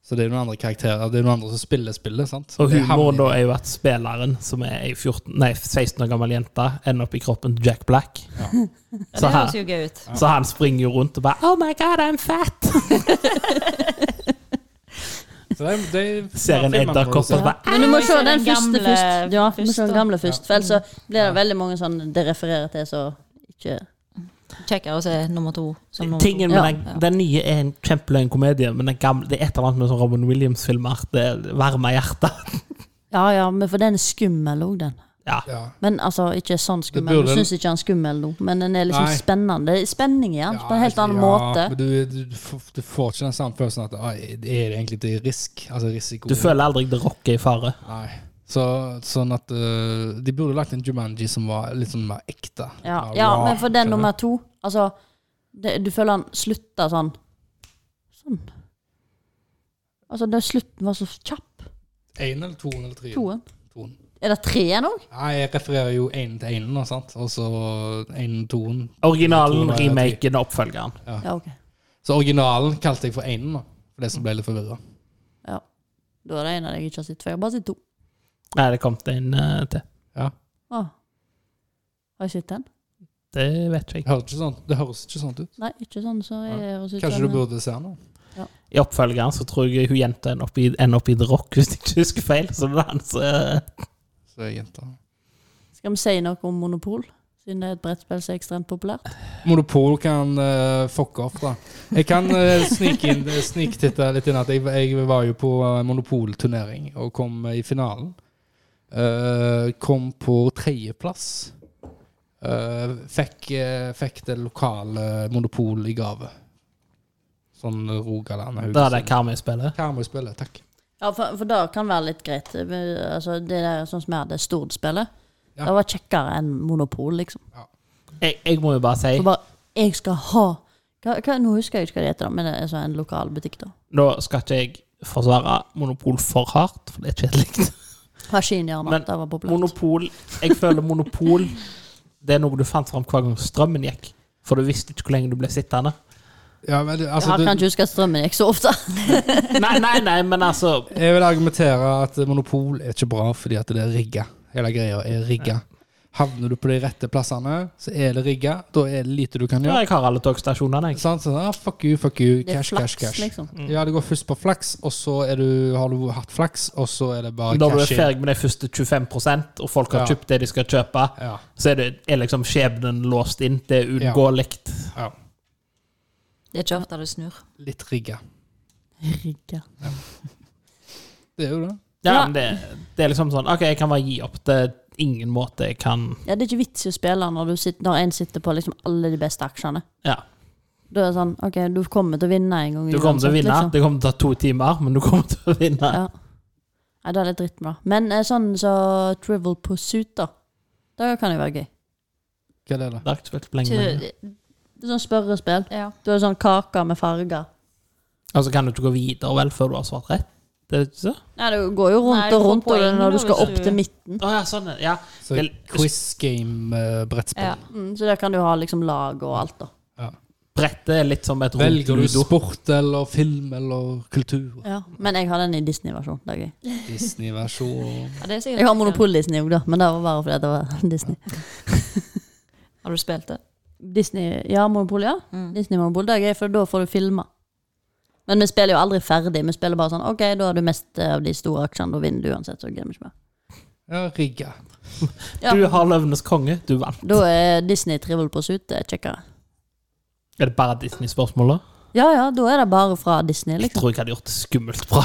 S3: Så det er noen andre karakterer Det er noen andre som spiller spillet. sant?
S2: Og
S3: Det havner
S2: humoren da er jo at spilleren, som er ei 14, nei, 16 år gammel jente, ender opp i kroppen til Jack Black.
S4: Ja,
S2: Så her.
S4: det høres jo gøy ut.
S2: Så han springer jo rundt og bare Oh my god, I'm fat!
S3: i- Så de, de,
S2: Ser en
S3: filmer må du
S2: edderkopp
S3: se.
S2: og bare
S1: Men du må
S4: Nei,
S1: se
S4: så
S1: den
S4: er den
S1: første
S4: gamle
S1: først. Ja, du må se
S4: først,
S1: den
S4: da.
S1: gamle først. For ellers så blir det veldig mange sånn det refererer til, så ikke
S4: Kjekkere å se nummer to. Som nummer to.
S2: Tingen med
S1: Ja.
S2: den, den nye er en kjempeløgn komedie, men den gamle, det er et eller annet med sånn Robin Williams-filmer. Det varmer hjertet.
S1: Ja ja, men for den er skummel òg, den.
S2: Ja.
S3: Ja.
S1: Men altså, ikke sånn skummel.
S3: burde-
S1: Du syns ikke han er skummel nå, men den er liksom
S3: Nei.
S1: spennende. Det er spenning i den, på en helt annen
S3: ja,
S1: måte.
S3: Men du, du, f- du får ikke den samme følelsen at ah, er det egentlig til risk? Altså risiko.
S2: Du føler aldri det rocker i fare.
S3: Nei. Så, sånn at eh, De burde lagt en Jumanji som var litt sånn mer ekte.
S1: Ja,
S3: Mer
S1: ja
S3: raw,
S1: men for den
S3: skjønner du?
S1: nummer to Altså, det, du føler han slutta sånn Sånn. Altså, den slutten var så kjapp.
S3: En eller to eller tre?
S1: Toen.
S3: Toen.
S1: Er det treen òg?
S3: Nei, jeg refererer jo én til én, nå, sant? og så én toen.
S2: Originalen,
S3: Jeg tror det er
S2: remaken og oppfølgeren.
S1: Ja, ok.
S3: Så originalen kalte jeg for énen, da. For For de som ble litt forvirra.
S1: Ja. Da er det en av deg jeg ikke har sett før. Jeg har bare sett to.
S2: Nei, det kom det en eh, til.
S3: Ja.
S1: Ah. Har jeg sett den?
S2: Det vet ikke
S3: Det
S2: jeg.
S3: høres ikke sånn, det høres ikke sånn ut.
S1: Nei, ikke sånn som jeg høres ut
S3: Kanskje
S1: som.
S3: du burde se den? da?
S2: I oppfølgeren så tror jeg hun jenta ender opp i, ender opp i The Rock, hvis jeg ikke husker feil. Så det er han som eh,
S3: Så er jenta.
S1: Skal vi si noe om Monopol? Siden det er et brettspill som er ekstremt populært.
S3: Monopol kan eh, fucke off, da. Jeg kan eh, snike inn- sniktitte litt inn at jeg, jeg var jo på eh, monopolturnering og kom eh, i finalen. Eh, kom på tredjeplass. Eh, fikk, eh, fikk det lokale monopol i gave. Sånn Rogaland
S2: Da er det Karmøy-spillet.
S3: Karmøy-spillet, takk.
S1: Ja, for, for det kan være litt greit. Vi- Altså, det der sånn som er det Stord-spillet,
S3: Ja.
S1: det var kjekkere enn Monopol, liksom.
S2: Jeg, jeg må jo bare si
S1: Så bare, jeg skal ha hva, hva, Nå husker jeg ikke hva det heter, da, men det er så en lokal butikk, da.
S2: Nå skal ikke jeg forsvare Monopol for hardt, for det er
S3: [LAUGHS]
S2: kjedelig.
S1: Maskinhjerne.
S2: Men
S1: Det var populært.
S2: Monopol Jeg føler monopol Det er noe du fant fram hver gang strømmen gikk. For du visste ikke hvor lenge du ble sittende.
S3: Ja, men, det-
S1: jeg
S3: altså,
S1: har- kan
S3: du,
S1: ikke huske at strømmen gikk så ofte.
S2: Nei, nei, nei, men altså
S3: jeg vil argumentere at monopol er ikke bra fordi at det er rigga. Hele greia er rigga. Havner du på de rette plassene, så er det rigga. Da er det lite du kan
S2: ja,
S3: gjøre.
S2: Jeg har alle togstasjonene, jeg.
S3: Sant? Sånn, ah, fuck you, fuck you.
S1: Det er
S3: Cash,
S1: flaks,
S3: cash, cash.
S1: liksom.
S3: Ja, det går først på flaks, og så er du, har du hatt flaks, og så er det bare
S2: Når du er
S3: cash in.
S2: ferdig med de første 25 og folk har
S3: Ja.
S2: kjøpt det de skal kjøpe,
S3: Ja,
S2: så er, det, er liksom skjebnen låst inn. Det er uunngåelig.
S3: ja.
S4: Det er ikke ofte det snur.
S3: Litt rigga.
S1: Rigga.
S3: Det er jo det.
S2: Ja,
S1: Ja.
S2: men det, det er liksom sånn OK, jeg kan bare gi opp. Det er ingen måte jeg kan
S1: Ja, det er ikke vits i å spille når, du sitter, når en sitter på liksom alle de beste aksjene.
S2: Ja.
S1: Da er det sånn, ok, du kommer til å vinne en gang.
S2: Du kommer til å
S1: uansett,
S2: vinne.
S1: liksom.
S2: Det kommer til å ta to timer, men du kommer til å vinne.
S1: Ja. Nei, det er litt dritt med det. Men eh, sånn så Trivial Pursuit, da. Det kan jo være gøy.
S3: Hva er det, da?
S2: Det har ikke spilt på lenge. men-
S4: Ikke,
S1: Det er sånn spørrespill.
S4: ja.
S1: Du har sånn kaker med farger.
S2: Og så kan du ikke gå videre vel før du har svart rett. Det er ikke så?
S1: Nei, det går jo rundt
S4: Nei, du
S1: og
S4: får
S1: rundt og det er
S4: poeng
S1: når
S4: da,
S1: du skal
S4: hvis
S1: opp
S4: du-
S1: til midten.
S2: Å ja, sånn. Ja.
S3: Så
S2: Vel,
S3: quiz eh, game-brettspill.
S4: Ja.
S1: Mm, så der kan du ha liksom lag og alt, da.
S2: Brettet er litt som et rundt
S3: Velger du
S2: ludo.
S3: sport eller film eller kultur?
S1: Ja. Men jeg har den i Disney-versjon. Det er gøy.
S3: Disney-versjon
S4: Ja, det er sikkert
S1: Jeg har
S4: ikke-
S1: Monopol-Disney òg, da, men det var bare fordi det var [LAUGHS] Disney.
S4: Har du spilt det?
S1: Disney, ja, Monopol, ja.
S4: Mm.
S1: Disney Monopol, det er gøy, for da får du filma. Men vi spiller jo aldri ferdig. Vi spiller bare sånn OK, da har du mest eh, av de store aksjene, da vinner du uansett, så gidder vi ikke mer.
S3: Ja, rigga.
S1: Ja.
S2: Du har Løvenes konge, du vant.
S1: Da er Disney Trivial Pursuit det er kjekkere.
S2: Er det bare Disney-spørsmål, da?
S1: Ja ja, da er det bare fra Disney,
S2: Jeg
S1: liksom.
S2: tror jeg hadde gjort det skummelt bra.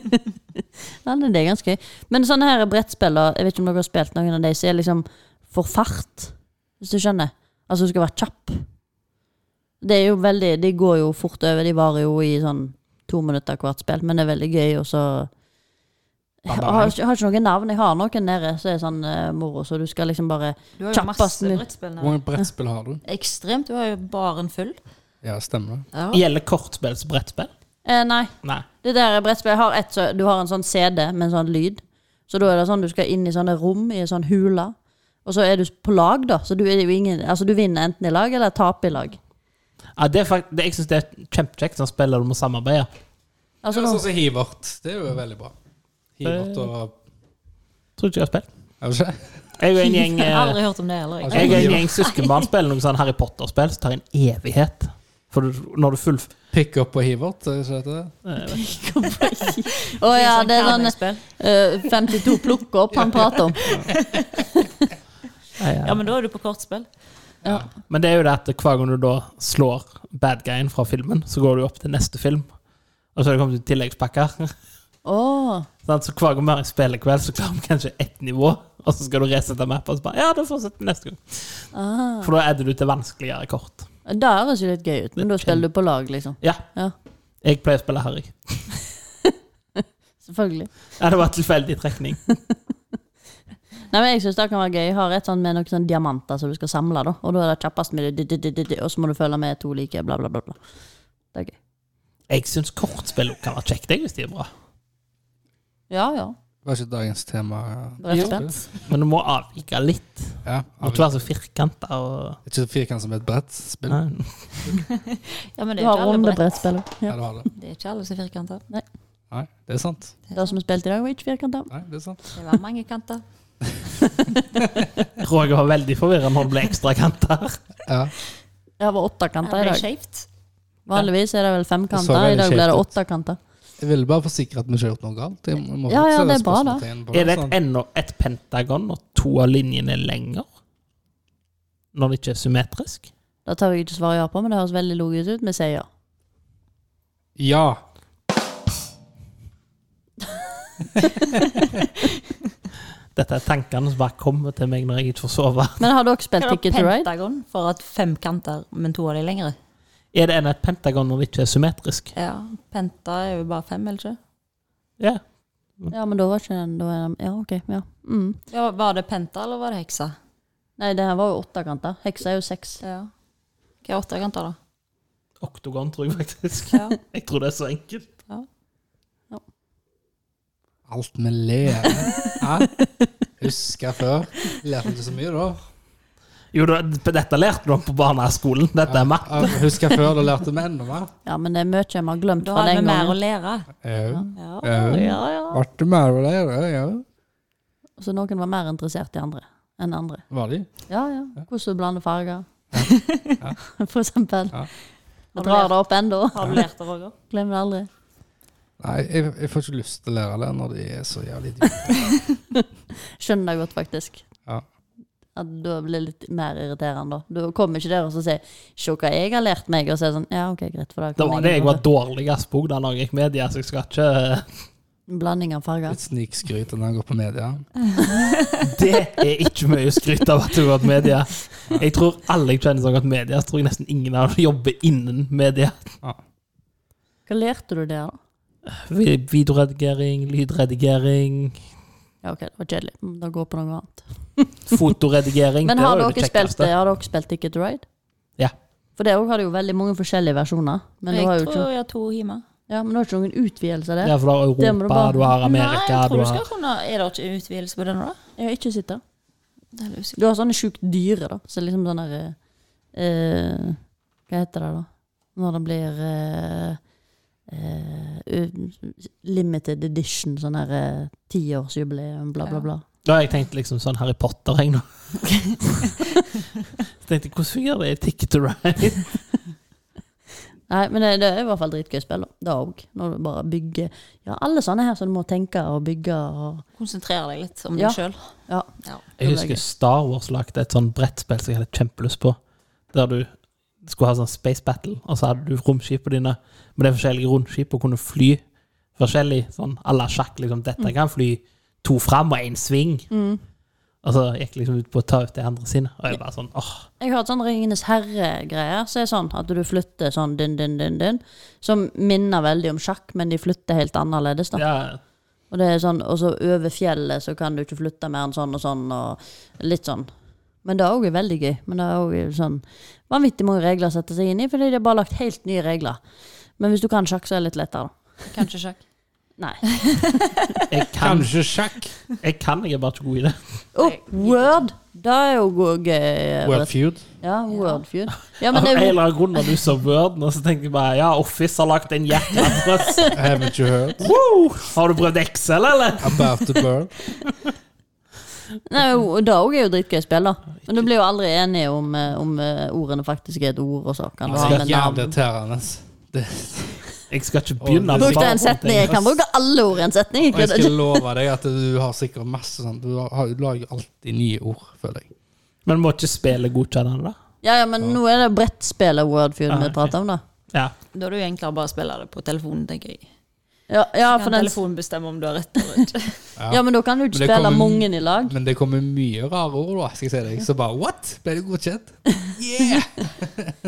S1: Ja, det er ganske gøy. Men sånne her brettspill, da, jeg vet ikke om dere har spilt noen av de som er liksom for fart, hvis du skjønner? Altså du skal være kjapp. Det er jo veldig De går jo fort over, de varer jo i sånn to minutter hvert spill, men det er veldig gøy, og så jeg har, har ikke- har ikke noe navn. Jeg har noen nede som er sånn eh, moro, så du skal liksom bare
S4: Du har jo
S1: Kjappest
S4: masse
S1: mulig.
S4: brettspill
S3: Hvor
S4: nå.
S3: mange brettspill har du?
S4: Ekstremt. Du har jo baren full.
S3: Ja, stemmer det.
S4: Ja.
S2: [LAUGHS] Gjelder kortspill som brettspill?
S1: eh, Nei,
S2: Nei.
S1: Det der er brettspill. Jeg har et, så, du har en sånn CD med en sånn lyd. Så da er det sånn du skal inn i sånne rom, i en sånn hule. Og så er du på lag, da. Så du, er jo ingen, altså, du vinner enten i lag eller taper i lag.
S2: Ja, det er fakt det, jeg syns det er kjempekjekt når spiller du må samarbeide.
S1: Altså,
S3: ja,
S1: nå-
S3: sånn som Hivert. Det er jo veldig bra. Hivert og
S2: Tror ikke jeg har spilt.
S3: Er det ikke?
S2: Jeg
S4: [LAUGHS]
S2: er jo en gjeng
S4: Jeg har
S2: eh,
S4: aldri hørt om det heller. Jeg.
S3: Altså,
S2: Jeg er en gjeng søskenbarn spiller noe sånn Harry Potter-spill som tar en evighet. For du, når du full...
S3: Pick up og Hivert, er det ikke det?
S1: Å ja, det er sånn
S4: Karnespill.
S1: eh, 52 plukker opp han prater om.
S2: Ja,
S4: Ja, men da er du på kortspill.
S2: Men det er jo det at hver gang du da slår bad guyen fra filmen, så går du opp til neste film. Og så har det kommet ut tilleggspakker. [LAUGHS]
S1: Å,
S2: Sant? Så hver gang vi har en spillekveld, så klarer vi kanskje ett nivå. Og så skal du resette mappa, og så bare Ja, da fortsetter vi neste gang.
S1: ah.
S2: For da edder du til vanskeligere kort.
S1: Det høres jo litt gøy ut, men da spiller du på lag, liksom.
S2: Ja.
S1: Ja.
S2: Jeg pleier å spille Harry.
S1: Selvfølgelig.
S2: Ja, det var en tilfeldig trekning.
S1: Nei, men jeg synes det kan være gøy. Jeg har et sånt med noen sånne diamanter som du skal samle, da. Og da er det kjappest med det, di- di- di- di- og så må du følge med to like, bla, bla, bla. bla. Det er gøy.
S2: Jeg syns kortspill kan være kjekt, jeg, hvis de er bra.
S1: Ja ja.
S3: Var ikke dagens tema
S1: Brettspill.
S2: Men du må avvike litt.
S3: Ja,
S2: Må ikke være så firkanta og
S3: Ikke firkant som et brettspill.
S2: Nei.
S4: Ja, men
S1: Du
S4: det er
S1: har
S4: ikke alle brett.
S1: rundebrettspill.
S3: Ja,
S1: Ja.
S3: du har det.
S4: Det er ikke alle som er firkanta.
S3: Nei, det er sant.
S1: Det som vi spilte i dag, var ikke firkanta.
S3: Nei, det er sant.
S4: Det var mange kanter.
S2: Roger var veldig forvirra når det ble ekstra kanter.
S3: Ja.
S1: Det var
S4: Det
S1: åttekanter i
S4: ble
S1: dag.
S4: skjevt.
S1: Vanligvis er det vel
S3: Det så
S1: femkanter.
S3: veldig
S1: I dag ble det
S3: skjevt ut.
S1: åttekanter.
S3: Jeg ville bare forsikre at vi ikke har gjort noe galt. Jeg må- må
S1: Ja, ja,
S3: sette
S1: det er bra, da.
S3: spørsmålstegn på
S2: Er det
S3: sånn.
S2: et ennå et pentagon og to av linjene er lenger? Når det ikke er symmetrisk?
S1: Det tør jeg ikke svare ja på, men det høres veldig logisk ut. Vi sier ja.
S3: Ja.
S2: Dette er tankene som bare kommer til meg når jeg ikke får sove.
S1: Men har dere spilt
S4: Kan du
S1: Ticket to
S4: ha
S1: Ride?
S4: Pentagon for at fem kanter, men to av de lengre.
S2: Er det ennå et pentagon når det ikke er symmetrisk?
S4: Ja, Penta er jo bare fem, eller ikke?
S2: Ja.
S1: Ja, men da var ikke den da var den, Ja, OK. Ja. Mm.
S4: Ja, var det Penta, eller var det Heksa?
S1: Nei, det her var jo åttekanter. Heksa er jo seks.
S4: Ja. Hva er åtte kanter, da?
S2: Oktogon, tror jeg faktisk. [LAUGHS]
S4: Ja.
S2: Jeg tror det er så enkelt.
S3: Alt vi ler av. Husker før. Lærte ikke så mye da.
S2: Jo, da, dette lærte du om på barneskolen. Dette er makt.
S3: Ja, Husker før, da lærte vi enda mer.
S1: Ja, men det er mye vi har glemt
S4: [LAUGHS] Da
S1: fra
S4: hadde vi
S1: den
S4: mer å
S1: gangen.
S4: lære.
S3: Ja.
S4: Ja,
S3: Ja.
S4: ja, ja.
S3: Ble det mer av det? Ja.
S1: Så noen var mer interessert i andre enn andre.
S3: Var de?
S1: Ja, ja. Hvordan du blander farger. [LAUGHS] For eksempel.
S3: Ja.
S1: Jeg drar det opp ennå.
S4: Har du lært det, Roger?
S1: Glemmer det aldri.
S3: Nei, jeg, jeg får ikke lyst til å lære det når de er så jævlig dyre.
S1: Skjønner det godt, faktisk.
S3: Ja.
S1: At da blir det litt mer irriterende, da. Du kommer ikke der og så sier 'se hva jeg har lært meg', og så er det sånn 'ja, ok, greit', for da
S2: Det
S1: kan
S2: var
S1: ingen
S2: det jeg
S1: gjøre
S2: var dårligst på da jeg gikk media, så jeg skal ikke [LAUGHS]
S1: En Blanding av farger.
S3: Litt snikskryt når han går på media.
S2: Det er ikke mye å skryte av at du har gått media. Jeg tror alle jeg kjenner som har gått media, så tror jeg nesten ingen av dem jobber innen media.
S1: Hva lærte du der, da?
S2: Vi- Videoredigering, lydredigering,
S1: Ja, ok, det var kjedelig. Mm, Da går jeg på noe annet.
S2: fotoredigering.
S1: Men
S2: Det
S1: har
S2: var jo
S1: dere,
S2: det
S1: spilt,
S2: kjekkeste.
S1: har dere spilt Ticket to Ride?
S2: Ja.
S1: For det òg har det jo veldig mange forskjellige versjoner. Men du har
S4: Jeg
S1: jo ikke,
S4: tror jeg har to hjemme.
S1: ja, men du har ikke noen utvidelse av det.
S2: Ja, for du har
S1: Det må du
S2: Europa,
S1: bare-
S2: du har
S4: Nei,
S2: Amerika,
S4: jeg
S2: du
S4: tror du
S2: har
S4: skal kunne Er det ikke utvidelse på denne, da?
S1: Jeg har ikke sett det.
S4: Det er jeg usikker
S1: Du har sånne sjukt dyre, da. Så liksom sånn der eh, eh, Hva heter det, da? Når det blir eh, eh, u- limited edition, sånn her eh, tiårsjubileum, bla,
S4: Ja.
S1: bla, bla.
S2: Da har jeg tenkt liksom sånn Harry Potter,
S1: [LAUGHS]
S2: jeg nå. Så tenkte jeg, hvordan fungerer det i Ticket to Ride?
S1: Nei, men det, det er i hvert fall dritgøy spill, da. Det òg. Når du bare bygger Ja, alle sånne her som du må tenke og bygge og
S4: på. Konsentrere deg litt om
S1: Ja.
S4: deg sjøl.
S1: Ja.
S2: Jeg husker Star Wars lagde et sånn brettspill som jeg hadde kjempelyst på, der du skulle ha sånn space battle, og så hadde du romskipene dine, men det er forskjellige romskip og kunne fly forskjellig, sånn à la sjakk, liksom.
S1: Mm.
S2: Dette kan fly to fram og én sving. Og så gikk jeg liksom ut på å ta ut de andre sine, og jeg bare sånn åh.
S1: Jeg har et sånn Ringenes herre-greier, så er det sånn at du flytter sånn din, din, din, din, som minner veldig om sjakk, men de flytter helt annerledes, da.
S2: Ja,
S1: Og det er sånn, og så over fjellet så kan du ikke flytte mer enn sånn og sånn, og litt sånn. Men det er òg veldig gøy. Men det er òg sånn vanvittig mange regler å sette seg inn i, fordi det er bare lagt helt nye regler. Men hvis du kan sjakk, så er det litt lettere, da.
S4: Kanskje sjakk.
S1: Nei.
S2: jeg
S1: [LAUGHS]
S2: kan,
S3: Kanskje sjakk?
S2: jeg kan, jeg er bare ikke god i det.
S1: Oh, Word! Det er jo god gøy.
S3: World feud?
S1: Ja, Word feud. Ja, men
S2: Av
S1: det
S2: en
S1: er jo
S2: eller annen grunn når du så Word, og så tenker jeg bare ja, Office har lagt en jækla
S1: [LAUGHS]
S2: adress.
S3: Haven't you heard?
S2: Wow! Har du prøvd Excel, eller?
S3: About the [LAUGHS] bird?
S1: Nei, jo, det òg er jo dritgøy spill, da. Men du blir jo aldri enige om, eh, om eh, ordene faktisk er et ord, og så kan du ha
S3: Det er
S1: med
S3: jævlig
S1: navn.
S3: irriterende.
S1: [LAUGHS]
S3: Det,
S2: Jeg skal ikke begynne
S3: Bruk
S1: Brukte
S2: svare
S1: en
S2: på
S1: setning.
S2: ting.
S1: Jeg kan bruke alle ord i en setning.
S3: og jeg
S1: ikke?
S3: skal love deg at du har sikkert masse sånn Du har, du lager alltid nye ord, føler jeg.
S2: Men må ikke spillet godkjenne det, da?
S1: Ja, ja, men nå er det brettspillet World Feud
S3: Ah,
S2: Ja,
S1: vi
S2: ok.
S1: prater om, da.
S2: Ja.
S4: Da er det jo enklere bare å spille det på telefonen, tenker jeg.
S1: Ja, ja, for
S4: Kan
S1: den,
S4: telefonen bestemme om du har rett eller ikke?
S2: [LAUGHS]
S1: ja, men da kan du ikke
S3: Men det
S1: spille
S3: kommer-
S1: mange i lag.
S3: Men det kommer mye rare ord, da, skal jeg si deg. Så bare what? Ble du godkjent?
S1: [LAUGHS]
S3: Yeah!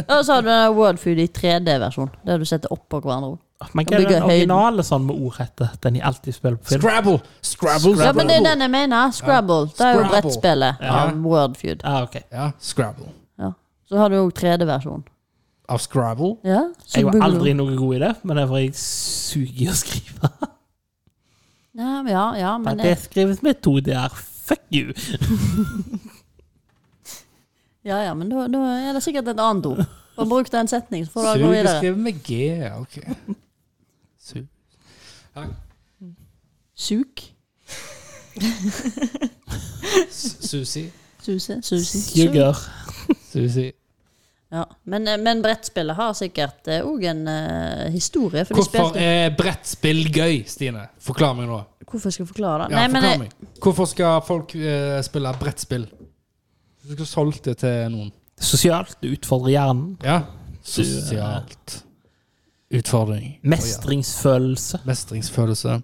S1: Og så har du den Wordfood i 3D-versjon, der du setter oppå hverandre.
S2: Men hva
S1: Kan
S2: er den
S1: bygge høyden.
S2: originale sånn med ord heter? Den jeg alltid spiller på film?
S3: Scrabble! Scrabble!
S1: Ja, men det er den jeg mener. Scrabble. Det er jo
S3: Scrabble.
S1: brettspillet
S3: Ja.
S1: av Wordfood.
S2: Ah, ok.
S3: Ja, Scrabble.
S1: Ja. Så har du òg 3D-versjon.
S3: Av Scrabble?
S1: Ja, så
S2: Jeg var
S1: Boogaloo.
S2: aldri noe god i det, men det er fordi jeg suger i å skrive.
S1: Ja, men ja, ja, men
S2: det skrives med to d-er. Fuck you!
S1: Ja ja, men da, da er det sikkert et annet ord. Bare bruk den setningen, så får du gå
S3: Sug er
S1: videre.
S3: skrevet med G, ja, OK.
S1: [LAUGHS]
S3: Sug.
S1: Suk.
S3: S- Susi.
S1: Suse. Susi.
S2: Sugar.
S3: Susi.
S1: Ja. Men, eh, men brettspillet har sikkert òg en eh, historie. For de
S3: Hvorfor
S1: spilte
S3: er brettspill gøy, Stine? Forklar meg nå.
S1: Hvorfor skal jeg forklare det?
S3: Ja,
S1: Nei, men
S3: forklar
S1: jeg-
S3: meg. Hvorfor skal folk eh, spille brettspill? Du skulle solgt det til noen.
S2: Sosialt. Du utfordrer hjernen.
S3: Ja. Sosialt. Utfordring.
S2: Mestringsfølelse.
S3: Mestringsfølelse.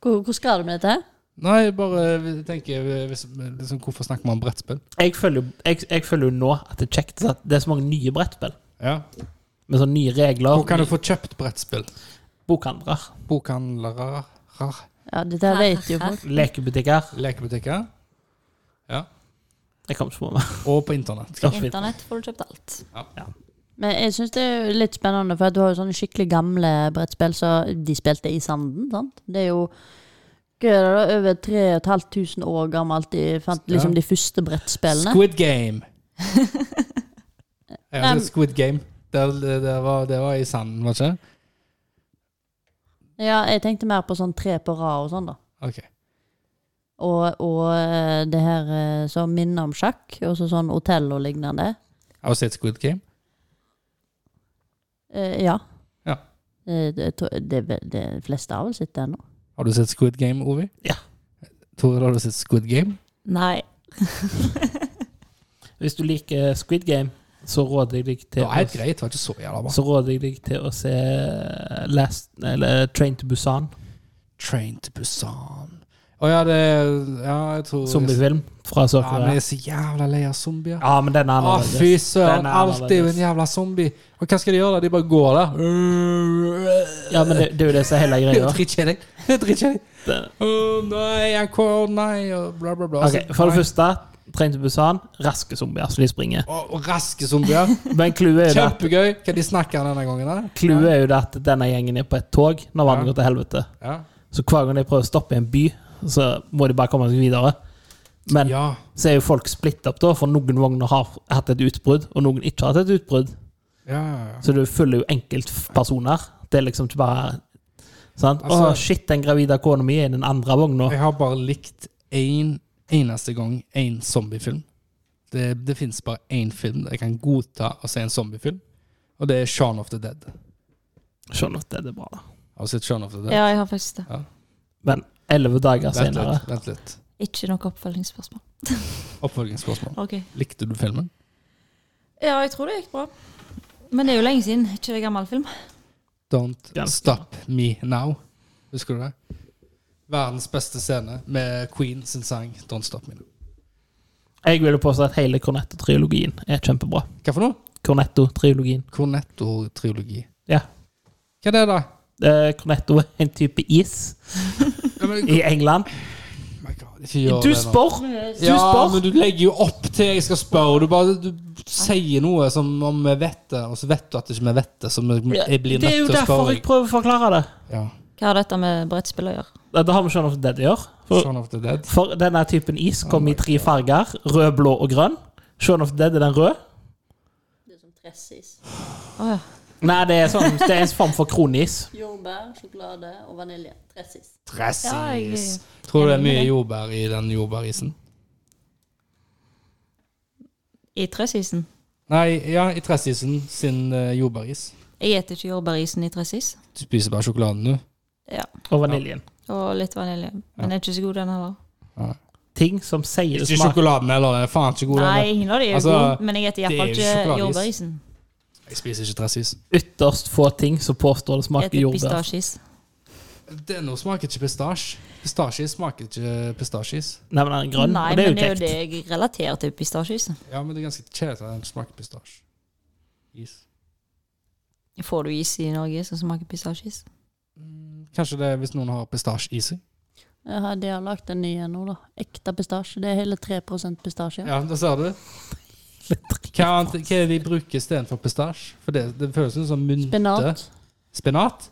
S1: hvor, hvor skal du med dette? her?
S3: Nei, jeg bare eh, tenker eh, hvis, liksom, Hvorfor snakker man om brettspill?
S2: Jeg føler, jo- jeg, jeg føler jo nå at det er kjekt at det er så mange nye brettspill.
S3: Ja.
S2: Med sånne nye regler.
S3: Hvor kan du få kjøpt brettspill?
S2: Bokhandlere.
S3: Bokhandlere, rar,
S1: Ja, dette her vet jo folk.
S2: Lekebutikker.
S3: lekebutikker
S2: Jeg kom ikke på meg.
S3: og på internett.
S4: På internett får du kjøpt alt.
S1: Men jeg syns det er jo litt spennende, for at du har jo sånne skikkelig gamle brettspill som de spilte i sanden. sant? Det er jo hva er det da, over 3500 år gammelt de fant liksom de første brettspillene.
S3: Squid Game. ja, det er Squid Game. Det, det, det, var, det var i sanden, var det ikke?
S1: Ja, jeg tenkte mer på sånn tre på rad og sånn, da.
S3: Ok.
S1: Og, og eh, det her eh, som minner om sjakk, og så sånn hotell og lignende.
S3: Har du sett Squid Game?
S1: Eh, ja.
S3: Ja.
S1: Eh, Det, tror jeg- det, det, det fleste har vel sett det ennå.
S3: Har du sett Squid Game, Ovi?
S2: Ja.
S3: Tore, har du sett Squid Game?
S4: Nei.
S2: Hvis du liker Squid Game, så råder jeg deg
S3: Det
S2: til,
S3: var helt greit, det var ikke så jævla
S2: å,
S3: bra.
S2: så råder jeg deg til å se Last, eller Train to Busan,
S3: Train to Busan. Å ja, det Ja, jeg tror
S2: zombiefilm fra
S3: Ja, men
S2: Sør-Korea.
S3: jeg er så jævla lei av zombier.
S2: Ja, men den er
S3: Å,
S2: annerledes.
S3: fy søren.
S2: Den er
S3: Alt er jo en
S2: annerledes.
S3: jævla zombie. Og hva skal de gjøre da? De bare går der.
S2: Ja, men det, det er jo det som er hele
S3: Det er jo
S2: greia.
S3: dritkjedelig. Det er dritkjedelig.
S2: Det-
S3: Å nei, jeg kom, nei, og bla, bla, bla.
S2: Ok, For det første, Train to Busan, raske zombier, så de springer.
S3: Og, og raske zombier.
S2: Men clouet er, jo [LAUGHS] det at-
S3: Kjempegøy. Hva de snakker denne gangen, da?
S2: clouet er jo det at denne gjengen er på et tog når vannet
S3: Ja.
S2: går til helvete.
S3: Ja.
S2: Så hver gang de prøver å stoppe i en by, så må de bare komme seg videre. Men
S3: ja.
S2: så er jo folk splitt opp, da, for noen vogner har hatt et utbrudd, og noen ikke har hatt et utbrudd.
S3: Ja, ja, ja.
S2: Så du følger jo enkeltpersoner. Det er liksom ikke bare sant?
S3: Altså-
S2: Å, shit, den gravide kona mi er i den andre vogna.
S3: Jeg har bare likt én en, eneste gang én zombiefilm. Det, det fins bare én film jeg kan godta å se en zombiefilm, og det er Shaun of the Dead.
S2: Skjønner at det er bra, da.
S3: Har du sett Shaun of the Dead?
S4: Ja, jeg har faktisk det.
S2: Men elleve dager
S3: vent,
S2: senere
S3: litt, vent litt.
S4: Ikke noe oppfølgingsspørsmål.
S3: Oppfølgingsspørsmål.
S4: Ok.
S3: Likte du filmen?
S4: Ja, jeg tror det gikk bra. Men det er jo lenge siden. Ikke det gammel film?
S3: Don't
S2: Ganske.
S3: Stop Me Now. Husker du det? Verdens beste scene med Queen sin sang Don't Stop Me Now.
S2: Jeg vil jo påstå at hele Cornetto-triologien er kjempebra.
S3: Hva for noe?
S2: Cornetto-triologien.
S3: Cornetto-triologi.
S2: Ja.
S3: Hva er det, da?
S2: Eh, Cornetto er en type is
S3: Ja, men,
S2: i England.
S3: oh my God, ikke gjør
S2: Du
S3: det nå.
S2: spør! Du
S3: Ja,
S2: spør!
S3: men du legger jo opp til jeg skal spørre. Du bare du sier noe som om vi vet det, og så vet du at ikke vi vet det, så vi- jeg blir
S2: Det er
S3: nødt
S2: jo
S3: til å
S2: derfor
S3: spørre.
S2: jeg prøver å forklare det.
S3: Ja.
S4: Hva har dette med brettspill å gjøre?
S2: Det har vi Shaun of the Dead å gjøre. For
S3: Shaun of the Dead.
S2: For denne typen is kommer i tre farger. Rød, blå og grønn. Shaun of the Dead er den rød.
S1: Det er som tressis.
S4: Å ja.
S2: Nei, det er, sånn, det er en form for kronis.
S1: Jordbær, sjokolade og vanilje. Tressis.
S4: Ja,
S3: Tressis.
S4: jeg-
S3: Tror du det er mye jordbær i den jordbærisen?
S4: I tresisen.
S3: Nei, ja, i tressisen sin eh, jordbæris.
S4: Jeg spiser ikke jordbærisen i tresis.
S3: Du spiser bare sjokoladen, du.
S4: Ja.
S2: Og vaniljen.
S4: Og litt vanilje. Men den er ikke så god, den heller.
S2: Ting som sier det
S3: Ikke
S2: smaker
S3: sjokoladen heller, den er faen ikke god. den
S4: Nei,
S3: der.
S4: ingen av de er jo
S3: Altså,
S4: gode, men jeg spiser
S3: det er
S4: iallfall
S3: jo
S4: ikke
S3: sjokoladeis.
S4: jordbærisen.
S3: Jeg spiser ikke tressis.
S2: Ytterst få ting som påstår det
S4: Jeg
S2: smaker
S4: spiser
S2: jordbær.
S4: pistasjeis.
S3: Det nå smaker ikke pistasje. Pistasjeis smaker ikke pistasjeis.
S2: Nei, men den er grønn,
S4: Nei,
S2: og det er jo
S4: men det er
S2: [LAUGHS]
S4: jo
S2: kjekt.
S4: det jeg relaterer til pistasjeis.
S3: Ja, men det er ganske kjedelig at den smaker pistasje. Is.
S4: Får du is i Norge som smaker pistasjeis?
S3: Kanskje det er hvis noen har pistasje i seg.
S1: Ja, de har lagd en ny en nå, da. Ekte pistasje. Det er hele 3 pistasje.
S3: Ja, da ser du. Hva, annet, hva er det de bruker istedenfor pistasje? For det, det føles jo som mynte.
S1: Spinat.
S3: Spinat?